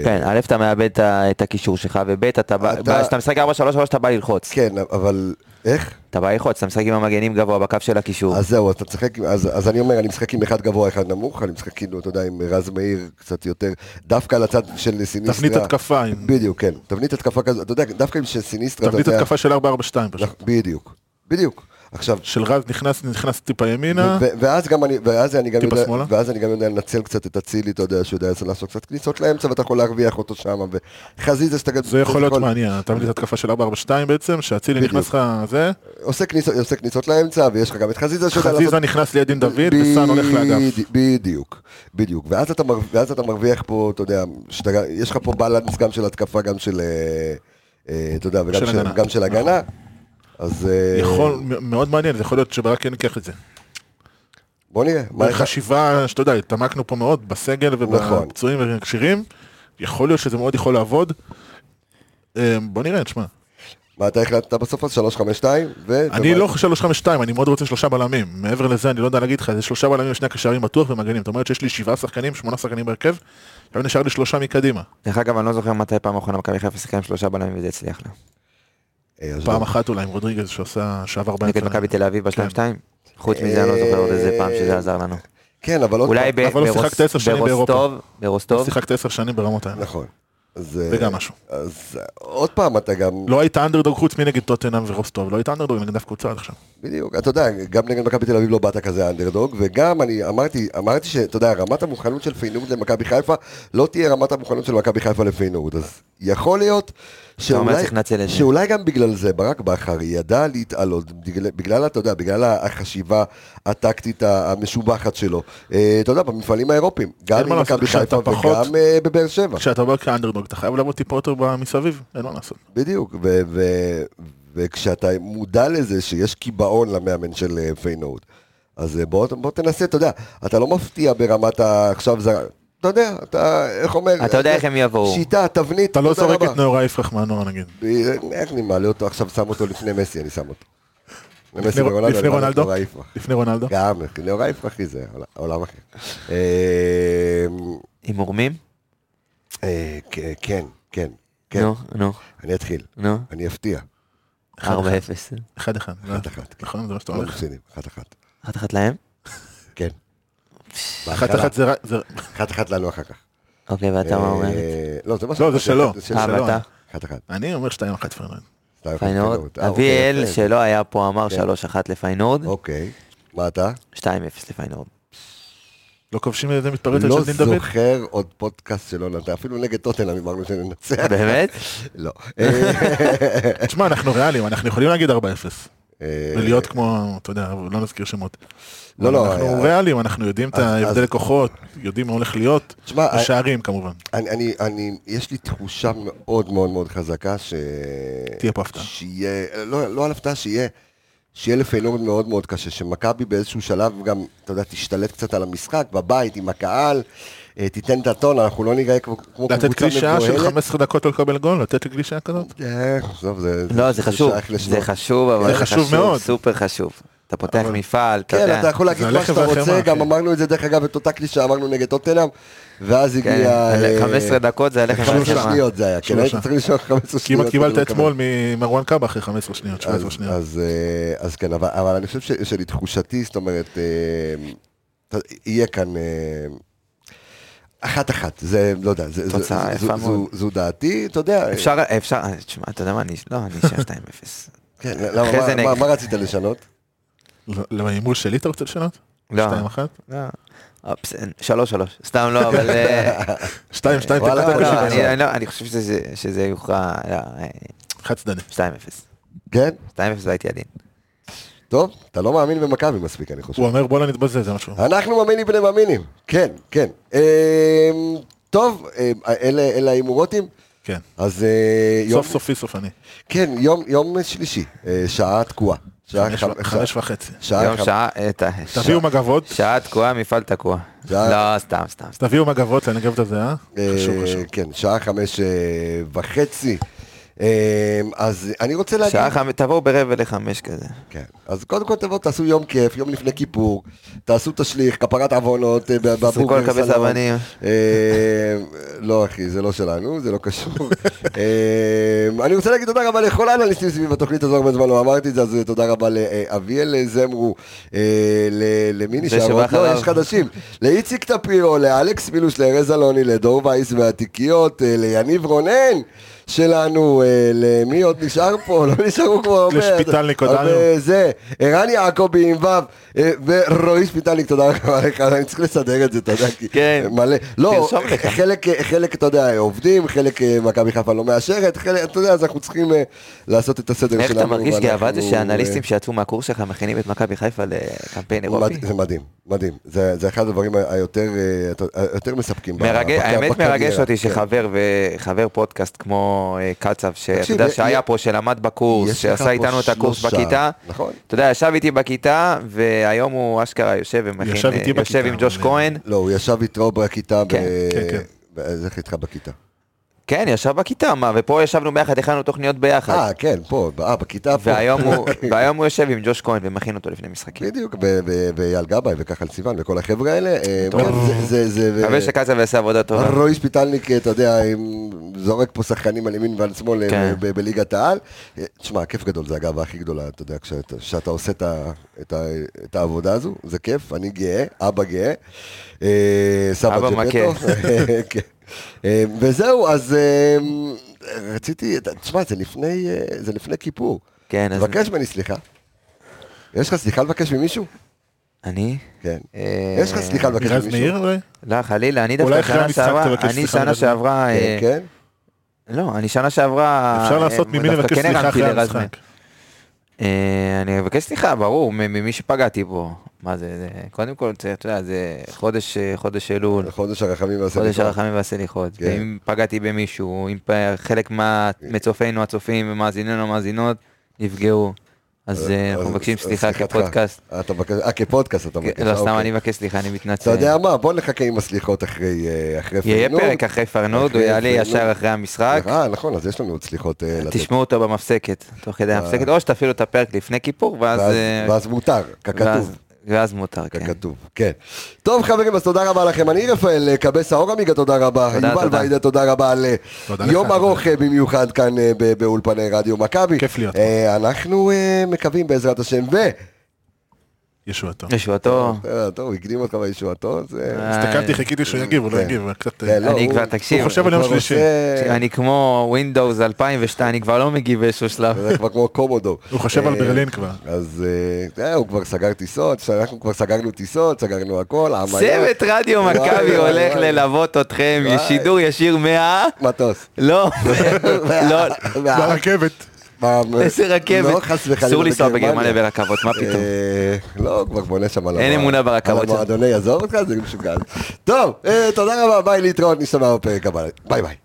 Speaker 2: כן, א', אתה מאבד את ה- את הקישור שלך, וב', אתה בא-
Speaker 1: אתה-
Speaker 2: כשאתה משחק 4-3-3 אתה בא ללחוץ.
Speaker 1: כן, אבל איך?
Speaker 2: אתה בא ללחוץ, אתה משחק עם המגנים גבוה בקו של הקישור.
Speaker 1: אז זהו, אז אתה משחק, עם- אז, אז אני אומר, אני משחק עם אחד גבוה, אחד נמוך, אני משחק כאילו, אתה יודע, עם רז מאיר קצת יותר, דווקא על הצד של סיניסטרה.
Speaker 3: תבנית התקפה, עם-
Speaker 1: בדיוק, כן. תבנית התקפה כן. נכון. כזאת, אתה יודע, דווקא עם של סיניסטרה, אתה
Speaker 3: תבנית
Speaker 1: יודע-
Speaker 3: התקפה של 442 פשוט.
Speaker 1: נכ- בדיוק, בדיוק. עכשיו,
Speaker 3: של רז נכנס, נכנס טיפה ימינה,
Speaker 1: ו- ואז גם אני, ואז אני גם
Speaker 3: טיפה
Speaker 1: יודע,
Speaker 3: שמאלה?
Speaker 1: ואז אני גם יודע לנצל קצת את אצילי, אתה יודע, שיודע לעשות קצת כניסות לאמצע, ואתה יכול להרוויח אותו שם, וחזיזה שאתה...
Speaker 3: זה יכול להיות מעניין, אתה מביא את התקפה של 4-4-2 בעצם, שאצילי
Speaker 1: בדיוק.
Speaker 3: נכנס לך, זה,
Speaker 1: עושה כניסות- עושה כניסות לאמצע, ויש לך גם את חזיזה שיודע לעשות
Speaker 3: חזיזה נכנס ליד דין דוד, וסאן הולך לאגף.
Speaker 1: בדי- בדיוק, בדיוק. ואז אתה, מר, ואז אתה מרוויח פה, אתה יודע, שאתה, גם- יש לך פה בלנס גם של התקפה, גם של, אה, אה, אתה יודע, וגם
Speaker 3: של
Speaker 1: של,
Speaker 3: הגנה. נכון.
Speaker 1: גם של הגנה. אז אה,
Speaker 3: יכול, מ- מאוד מעניין, זה יכול להיות שברק כן ייקח את זה.
Speaker 1: בוא נראה. מה איך-
Speaker 3: חשיבה, שאתה יודע, התעמקנו פה מאוד בסגל ובפצועים ובכשירים, יכול להיות שזה מאוד יכול לעבוד. אה, בוא נראה, תשמע.
Speaker 1: מה אתה החלטת בסוף? אז 3-5-2? ו-
Speaker 3: אני
Speaker 1: ומה-
Speaker 3: לא 3-5-2, אני מאוד רוצה שלושה בלמים. מעבר לזה, אני לא יודע להגיד לך, זה שלושה בלמים ושני קשרים בטוח ומגנים. זאת אומרת שיש לי שבעה שחקנים, שמונה שחקנים בהרכב, עכשיו נשאר לי שלושה מקדימה.
Speaker 2: דרך אגב, אני לא זוכר מתי פעם אחרונה מכבי חיפה שיחקה עם שלושה בלמים וזה הצליח לה.
Speaker 1: אה, אז
Speaker 3: פעם
Speaker 1: לא.
Speaker 3: אחת אולי עם רודריגז שעשה שעבר
Speaker 2: נגד
Speaker 3: באמצע.
Speaker 2: מכבי תל אביב בשתיים שתיים? חוץ מזה אני לא זוכר עוד איזה פעם שזה עזר לנו.
Speaker 1: כן, אבל עוד
Speaker 2: אולי
Speaker 1: פעם-
Speaker 2: ב-
Speaker 3: אבל לא שיחקת עשר שנים
Speaker 2: ברוס-
Speaker 3: באירופה.
Speaker 2: ברוסטוב,
Speaker 1: לא
Speaker 2: ברוסטוב,
Speaker 3: שיחקת עשר שנים ברמות האלה.
Speaker 1: נכון. אז, אה,
Speaker 3: זה גם משהו.
Speaker 1: אז אה, עוד פעם אתה גם,
Speaker 3: לא היית אנדרדוג חוץ מנגד טוטנאם ורוסטוב, לא היית אנדרדוג נגד אף קבוצה עד עכשיו.
Speaker 1: בדיוק, אתה יודע, גם נגד מכבי תל אביב לא באת כזה אנדרדוג, וגם אני אמרתי, אמרתי שאתה יודע, רמת המוכנות של פיינורד למכבי חיפה לא תהיה רמת המוכנות של מכבי חיפה לפיינורד, אז יכול להיות
Speaker 2: אומר,
Speaker 1: שאולי,
Speaker 2: צריך לנצל את זה.
Speaker 1: שאולי גם בגלל זה ברק בכר ידע להתעלות, בגלל, בגלל, אתה יודע, בגלל החשיבה הטקטית המשובחת שלו, אה, אתה יודע, במפעלים האירופיים,
Speaker 3: אין
Speaker 1: גם
Speaker 3: מה
Speaker 1: עם
Speaker 3: לעשות,
Speaker 1: מכבי
Speaker 3: כשאתה
Speaker 1: חיפה
Speaker 3: פחות-
Speaker 1: וגם אה, בבאר שבע.
Speaker 3: כשאתה בא כאנדרדוג, אתה חייב לעבוד טיפה יותר מסביב, אין מה לעשות.
Speaker 1: בדיוק, ו- ו- וכשאתה מודע לזה שיש קיבעון למאמן של אה, פיינורד, אז אה, בוא, בוא תנסה, אתה יודע, אתה לא מפתיע ברמת ה... עכשיו זה... אתה יודע, אתה, איך אומר?
Speaker 2: אתה יודע איך הם יבואו.
Speaker 1: שיטה, תבנית,
Speaker 3: אתה לא
Speaker 1: תודה
Speaker 3: זורק
Speaker 1: רבה.
Speaker 3: את נאורה יפרח מהנוער נגיד.
Speaker 1: ב- איך אני מעלה אותו עכשיו, שם אותו לפני מסי, אני שם אותו.
Speaker 3: לפני
Speaker 1: ומסי ורונלדו,
Speaker 3: לפני
Speaker 1: אני מעלה את
Speaker 3: רונלדו?
Speaker 1: נאורה יפרח.
Speaker 3: לפני רונלדו?
Speaker 1: גם, נאורה יפרח, אחי, זה עול- עולם אחר. אה,
Speaker 2: עם מורמים?
Speaker 1: אה, כ- כן, כן, כן.
Speaker 2: נו, נו,
Speaker 1: אני אתחיל,
Speaker 2: נו,
Speaker 1: אני אפתיע.
Speaker 2: 4-0.
Speaker 3: אחד אחד.
Speaker 1: אחת אחת.
Speaker 3: נכון, זה מה שאתה
Speaker 1: לא
Speaker 3: הולך.
Speaker 1: מפסידים, אחת אחת.
Speaker 2: אחת אחת להם?
Speaker 1: כן.
Speaker 3: אחת אחת זה רק... זה-
Speaker 1: אחת אחת לנו אחר כך.
Speaker 2: אוקיי, ואתה מה אומר?
Speaker 1: אה, לא, זה מה
Speaker 3: לא, זה שלו.
Speaker 2: אה,
Speaker 3: שלום.
Speaker 2: ואתה?
Speaker 1: אחת אחת.
Speaker 3: אני אומר שתיים אחת פרננד.
Speaker 1: שתיים, אחת,
Speaker 2: פיינורד.
Speaker 1: פיינורד. אה, אוקיי,
Speaker 2: אביאל,
Speaker 1: יפה.
Speaker 2: שלא היה פה, אמר
Speaker 1: כן.
Speaker 2: 3-1 לפיינורד,
Speaker 1: אוקיי. מה אתה?
Speaker 2: 2-0 לפיינורד.
Speaker 3: לא כובשים איזה מתפרצת
Speaker 1: לא
Speaker 3: של דין דוד?
Speaker 1: זוכר עוד פודקאסט שלא נתן, אפילו נגד טוטנאם אמרנו שננצח.
Speaker 2: באמת?
Speaker 1: לא. אה,
Speaker 3: תשמע, אנחנו ריאליים, אנחנו יכולים להגיד 4-0.
Speaker 1: אה,
Speaker 3: ולהיות כמו, אתה יודע, לא נזכיר שמות.
Speaker 1: לא, לא,
Speaker 3: אנחנו
Speaker 1: אה,
Speaker 3: ריאליים, אנחנו יודעים את
Speaker 1: אז-
Speaker 3: ההבדל
Speaker 1: אז-
Speaker 3: כוחות, יודעים מה הולך להיות.
Speaker 1: תשמע, אה,
Speaker 3: בשערים כמובן.
Speaker 1: אני, אני, אני, יש לי תחושה מאוד מאוד מאוד חזקה ש...
Speaker 3: תהיה פה הפתעה.
Speaker 1: שיהיה, לא, לא על הפתעה, שיהיה, שיהיה לפיינורד מאוד מאוד קשה, שמכבי באיזשהו שלב גם, אתה יודע, תשתלט קצת על המשחק, בבית, עם הקהל, אה, תיתן את הטון, אנחנו לא נראה כמו, כמו
Speaker 3: לתת קלישאה של 15 דקות לא לקבל גול, לתת לי קלישאה כזאת?
Speaker 1: אה, עזוב, זה,
Speaker 2: לא, זה חשוב,
Speaker 1: שייך לשנות.
Speaker 2: זה חשוב, אבל
Speaker 3: זה
Speaker 2: זה
Speaker 3: חשוב
Speaker 2: חשוב,
Speaker 3: מאוד.
Speaker 2: סופר חשוב. אתה פותח
Speaker 3: אבל-
Speaker 2: מפעל, אתה
Speaker 1: כן,
Speaker 2: יודע.
Speaker 1: אתה יכול להגיד
Speaker 3: זה
Speaker 1: מה
Speaker 3: הלחם
Speaker 1: שאתה רוצה,
Speaker 3: והחמאה,
Speaker 1: גם
Speaker 3: אחי.
Speaker 1: אמרנו את זה דרך אגב, את אותה קלישה אמרנו נגד טוטנאם, ואז
Speaker 2: כן,
Speaker 1: הגיע... אה,
Speaker 2: 15 דקות זה הלחם
Speaker 1: 15
Speaker 2: והחמאה.
Speaker 1: שניות זה היה, כן, היית
Speaker 3: שלושה.
Speaker 1: צריך לשאול 15 שניות.
Speaker 3: כמעט קיבלת
Speaker 1: כדי לקבל.
Speaker 3: אתמול ממרואן קאבה אחרי 15 שניות, 17
Speaker 1: אז,
Speaker 3: שניות.
Speaker 1: אז, אה, אז כן, אבל, אבל אני חושב ש- שלתחושתי, זאת אומרת, אה, ת- יהיה כאן אה, אחת-אחת, זה, לא יודע, זה, זה,
Speaker 2: תוצאה
Speaker 1: זו,
Speaker 2: יפה
Speaker 1: זו, זו,
Speaker 2: מאוד.
Speaker 1: זו דעתי, אתה יודע,
Speaker 2: אפשר, אפשר, אה, תשמע, אתה יודע מה, אני, לא, אני אשאר 2-0.
Speaker 1: כן, למה,
Speaker 2: אחרי
Speaker 1: מה,
Speaker 2: זה
Speaker 1: מה,
Speaker 2: נגד.
Speaker 1: מה רצית לשנות?
Speaker 3: למה הימור שלי אתה רוצה לשנות?
Speaker 2: לא,
Speaker 3: 2-1?
Speaker 2: לא. אופס, אין, 3-3, סתם לא, אבל... אה,
Speaker 3: 2-2 תקעת
Speaker 1: וואלה,
Speaker 2: לא,
Speaker 1: וואלה.
Speaker 3: בשבעה.
Speaker 2: אני- אני לא, אני חושב שזה- שזה יוכרע, לא, אה,
Speaker 3: חד צדדי.
Speaker 2: 2-0.
Speaker 1: כן,
Speaker 2: 2-0 זה הייתי עדין.
Speaker 1: טוב, אתה לא מאמין במכבי מספיק, אני חושב.
Speaker 3: הוא אומר בואנה נתבזה, זה
Speaker 2: אה,
Speaker 3: משהו.
Speaker 1: אנחנו מאמינים בני מאמינים, כן, כן. אה, טוב, אה, אלה אלה ההימורותים,
Speaker 3: כן.
Speaker 1: אז אה, יום,
Speaker 3: סוף סופי סוף אני.
Speaker 1: כן, יום, יום שלישי, אה, שעה תקועה. שעה
Speaker 3: חמש-
Speaker 1: חמ-
Speaker 3: חמש וחצי.
Speaker 1: שעה
Speaker 2: יום
Speaker 1: חמ-
Speaker 2: שעה, אה, ת-
Speaker 3: תביאו מגבות,
Speaker 2: שעה תקועה, מפעל תקוע.
Speaker 1: שעה-
Speaker 2: לא, סתם, סתם. סתם.
Speaker 3: תביאו מגבות לנגב את הזיעה. חשוב,
Speaker 1: אה,
Speaker 3: חשוב.
Speaker 1: כן, שעה חמש אה, וחצי. אה, אז אני רוצה להגיד...
Speaker 2: שעה חמש, תבואו ברבע לחמש כזה.
Speaker 1: כן. אז קודם כל תבואו, תעשו יום כיף, יום לפני כיפור, תעשו תשליך, כפרת עוונות, אה, בבוקר סלון.
Speaker 2: תזרקו על כבש אבנים.
Speaker 1: אה, לא אחי, זה לא שלנו, זה לא קשור. אה, אני רוצה להגיד תודה רבה לכל האנליסטים סביב התוכנית הזו, הרבה זמן לא אמרתי את זה, אז תודה רבה לאביאל זמרו, אה, ל- למי
Speaker 2: זה
Speaker 1: נשאר?
Speaker 2: שבא
Speaker 1: עוד לא,
Speaker 2: אחריו.
Speaker 1: יש חדשים. לאיציק טפירו, לאלכס מילוש, לארז אלוני, לדור וייס והתיקיות, אה, ליניב רונן. שלנו, אה, למי עוד נשאר פה? לא נשארו כבר הרבה.
Speaker 3: לשפיטלניק, הודענו.
Speaker 1: הרבה זה, ערן יעקבי עם ו' אה, ורועי שפיטלניק, תודה רבה לך, אני צריך לסדר את זה, אתה יודע, כי
Speaker 2: כן.
Speaker 1: מלא. לא,
Speaker 2: תרשום לך.
Speaker 1: חלק, אה, חלק, אתה יודע, עובדים, חלק אה, מכבי חיפה לא מאשרת, חלק, אתה יודע, אז אנחנו צריכים אה, לעשות את הסדר שלנו.
Speaker 2: איך אתה מרגיש גאווה זה
Speaker 1: ואנחנו, אה,
Speaker 2: שאנליסטים שיצאו מהקורס שלך מכינים את מכבי חיפה לקמפיין אירופי?
Speaker 1: מד- זה מדהים, מדהים. זה זה אחד הדברים ה- היותר אה, אתה- היותר מספקים. ב-
Speaker 2: מרגש,
Speaker 1: בק-
Speaker 2: האמת
Speaker 1: בקריירה.
Speaker 2: מרגש אותי
Speaker 1: כן.
Speaker 2: שחבר וחבר פודקאסט כמו אה, קצב, שאתה
Speaker 1: תקשיב,
Speaker 2: יודע
Speaker 1: י- י-
Speaker 2: שהיה פה, שלמד בקורס,
Speaker 1: יש לך
Speaker 2: שעשה
Speaker 1: פה
Speaker 2: איתנו את הקורס
Speaker 1: שלושה.
Speaker 2: בכיתה,
Speaker 1: נכון.
Speaker 2: אתה יודע, ישב איתי בכיתה, והיום הוא אשכרה יושב ומכין,
Speaker 3: ישב
Speaker 2: אה,
Speaker 3: איתי
Speaker 2: יושב
Speaker 3: בכיתה,
Speaker 2: עם ג'וש
Speaker 3: אבל-
Speaker 2: כהן,
Speaker 1: לא, הוא ישב איתו בכיתה, ב-
Speaker 2: כן,
Speaker 3: כן, כן.
Speaker 1: ב- אז איך איתך בכיתה?
Speaker 2: כן, ישב בכיתה, מה, ופה ישבנו ביחד, הכנו תוכניות ביחד,
Speaker 1: אה, כן, פה, ב- אה, בכיתה פה.
Speaker 2: והיום הוא- והיום הוא יושב עם ג'וש כהן ומכין אותו לפני משחקים.
Speaker 1: בדיוק, ב- ב- ואייל גבאי וכחל סיוון וכל החבר'ה האלה. אה, כן, זה- זה... זה-
Speaker 2: מקווה שקצב יעשה עבודה טובה.
Speaker 1: רועי שפיטלניק, אה, אתה יודע, עם- זורק פה שחקנים על ימין ועל שמאל אה,
Speaker 2: כן.
Speaker 1: ב- בליגת העל. אה, תשמע, כיף גדול, זה הגאווה הכי גדולה, אתה יודע, כשאתה- כשאתה עושה את ה- את ה- את העבודה הזו, זה כיף, אני גאה, אבא גאה. אה, סבא
Speaker 2: אבא
Speaker 1: ג'פטו. כן. אה, וזהו, אז אה, רציתי, תשמע, זה לפני, אה, זה לפני כיפור.
Speaker 2: כן, אז
Speaker 1: תבקש ממני סליחה. יש לך סליחה לבקש ממישהו?
Speaker 2: אני?
Speaker 1: כן.
Speaker 2: אה,
Speaker 1: יש לך סליחה לבקש
Speaker 3: רז מאיר
Speaker 1: ממישהו?
Speaker 3: אולי?
Speaker 2: לא, חלילה, אני
Speaker 3: אולי
Speaker 2: דווקא
Speaker 3: אחרי
Speaker 2: שנה
Speaker 3: המשחק
Speaker 2: שעברה,
Speaker 3: תבקש
Speaker 2: אני
Speaker 3: סליחה
Speaker 2: שנה
Speaker 3: בדרך.
Speaker 2: שעברה,
Speaker 1: כן,
Speaker 2: אה,
Speaker 1: כן.
Speaker 2: לא, אני שנה שעברה...
Speaker 3: אפשר לעשות
Speaker 2: אה,
Speaker 3: ממי
Speaker 2: דווקא
Speaker 3: לבקש
Speaker 2: כן
Speaker 3: סליחה
Speaker 2: הרמתי
Speaker 3: אחרי
Speaker 2: לרז
Speaker 3: המשחק.
Speaker 2: מאיר. אה, אני אבקש סליחה, ברור, מ- ממי שפגעתי בו. מה זה, זה, קודם כל, זה, אתה יודע, זה חודש, אה, חודש אלול,
Speaker 1: חודש הרחמים והסליחות.
Speaker 2: חודש הרחמים והסליחות.
Speaker 1: כן.
Speaker 2: ואם פגעתי במישהו, אם פ- חלק מה- מצופינו הצופים ומאזיננו המאזינות נפגעו, אז אה, אנחנו מבקשים סליחה
Speaker 1: סליחתך.
Speaker 2: כפודקאסט.
Speaker 1: אה, אתה מבקש- אה, כפודקאסט אתה מבקש.
Speaker 2: לא,
Speaker 1: אה,
Speaker 2: סתם
Speaker 1: אוקיי.
Speaker 2: אני מבקש סליחה, אני מתנצל.
Speaker 1: אתה יודע מה, בוא נחכה עם הסליחות אחרי אה, אחרי
Speaker 2: יהיה
Speaker 1: פרנון.
Speaker 2: פרק אחרי פרנוד, הוא
Speaker 1: אחרי
Speaker 2: יעלה
Speaker 1: פרנון.
Speaker 2: ישר אחרי המשחק.
Speaker 1: אה, נכון, אז יש לנו עוד סליחות אה, לתת.
Speaker 2: תשמעו אותו במפסקת, תוך כדי המפסקת, או שתפעילו את הפרק לפני כיפור, ואז...
Speaker 1: אה. ואז-
Speaker 2: אה,
Speaker 1: ואז מותר,
Speaker 2: ואז-
Speaker 1: ככתוב.
Speaker 2: ואז מותר, כן.
Speaker 1: ככתוב, כן. טוב חברים, אז תודה רבה לכם. אני רפאל אה, קבסה אורמיגה, תודה רבה.
Speaker 2: תודה,
Speaker 1: יובל
Speaker 2: תודה.
Speaker 1: ועידה, תודה רבה על אה,
Speaker 3: תודה
Speaker 1: יום
Speaker 3: לך.
Speaker 1: ארוך אה, במיוחד כאן אה, ב- באולפני רדיו מכבי.
Speaker 3: כיף להיות
Speaker 1: אה, אנחנו אה, מקווים בעזרת השם, ו...
Speaker 3: ישועתו.
Speaker 2: ישועתו,
Speaker 1: אה, טוב, הוא הקדים אותך בישועתו, זה...
Speaker 2: אה,
Speaker 3: הסתכלתי, חיכיתי שהוא יגיב, הוא לא
Speaker 1: כן.
Speaker 3: יגיב, אבל קצת...
Speaker 1: כן, לא,
Speaker 2: אני
Speaker 1: הוא-
Speaker 2: כבר, תקשיב,
Speaker 3: הוא חושב על יום
Speaker 1: כבר
Speaker 3: שלישי.
Speaker 1: עושה-
Speaker 2: אני כמו Windows 2002, אני כבר לא מגיב באיזשהו שלב.
Speaker 1: זה כבר כמו קומודו.
Speaker 3: הוא חושב על
Speaker 1: אה,
Speaker 3: ברלין כבר.
Speaker 1: אז אה, אה, הוא כבר סגר טיסות, אנחנו כבר סגרנו טיסות, סגרנו הכל, עמליה,
Speaker 2: צוות רדיו
Speaker 1: וואי,
Speaker 2: מכבי
Speaker 1: וואי,
Speaker 2: הולך
Speaker 1: וואי.
Speaker 2: ללוות אתכם,
Speaker 1: וואי.
Speaker 2: שידור ישיר מה...
Speaker 1: מטוס.
Speaker 2: לא, לא,
Speaker 3: ברכבת.
Speaker 1: פעם-
Speaker 2: איזה רכבת.
Speaker 1: לא, חס וחלילה.
Speaker 2: אסור לנסוע בגרמניה ברכבות, מה פתאום?
Speaker 1: אה, לא, הוא כבר בונה שם על
Speaker 2: אין
Speaker 1: המוע-
Speaker 2: אמונה ברכבות
Speaker 1: על
Speaker 2: שם.
Speaker 1: המועדוני, עזוב אותך, זה משוגע. טוב, אה, תודה רבה, ביי להתראות, נשתמע בפרק הבא. ביי ביי.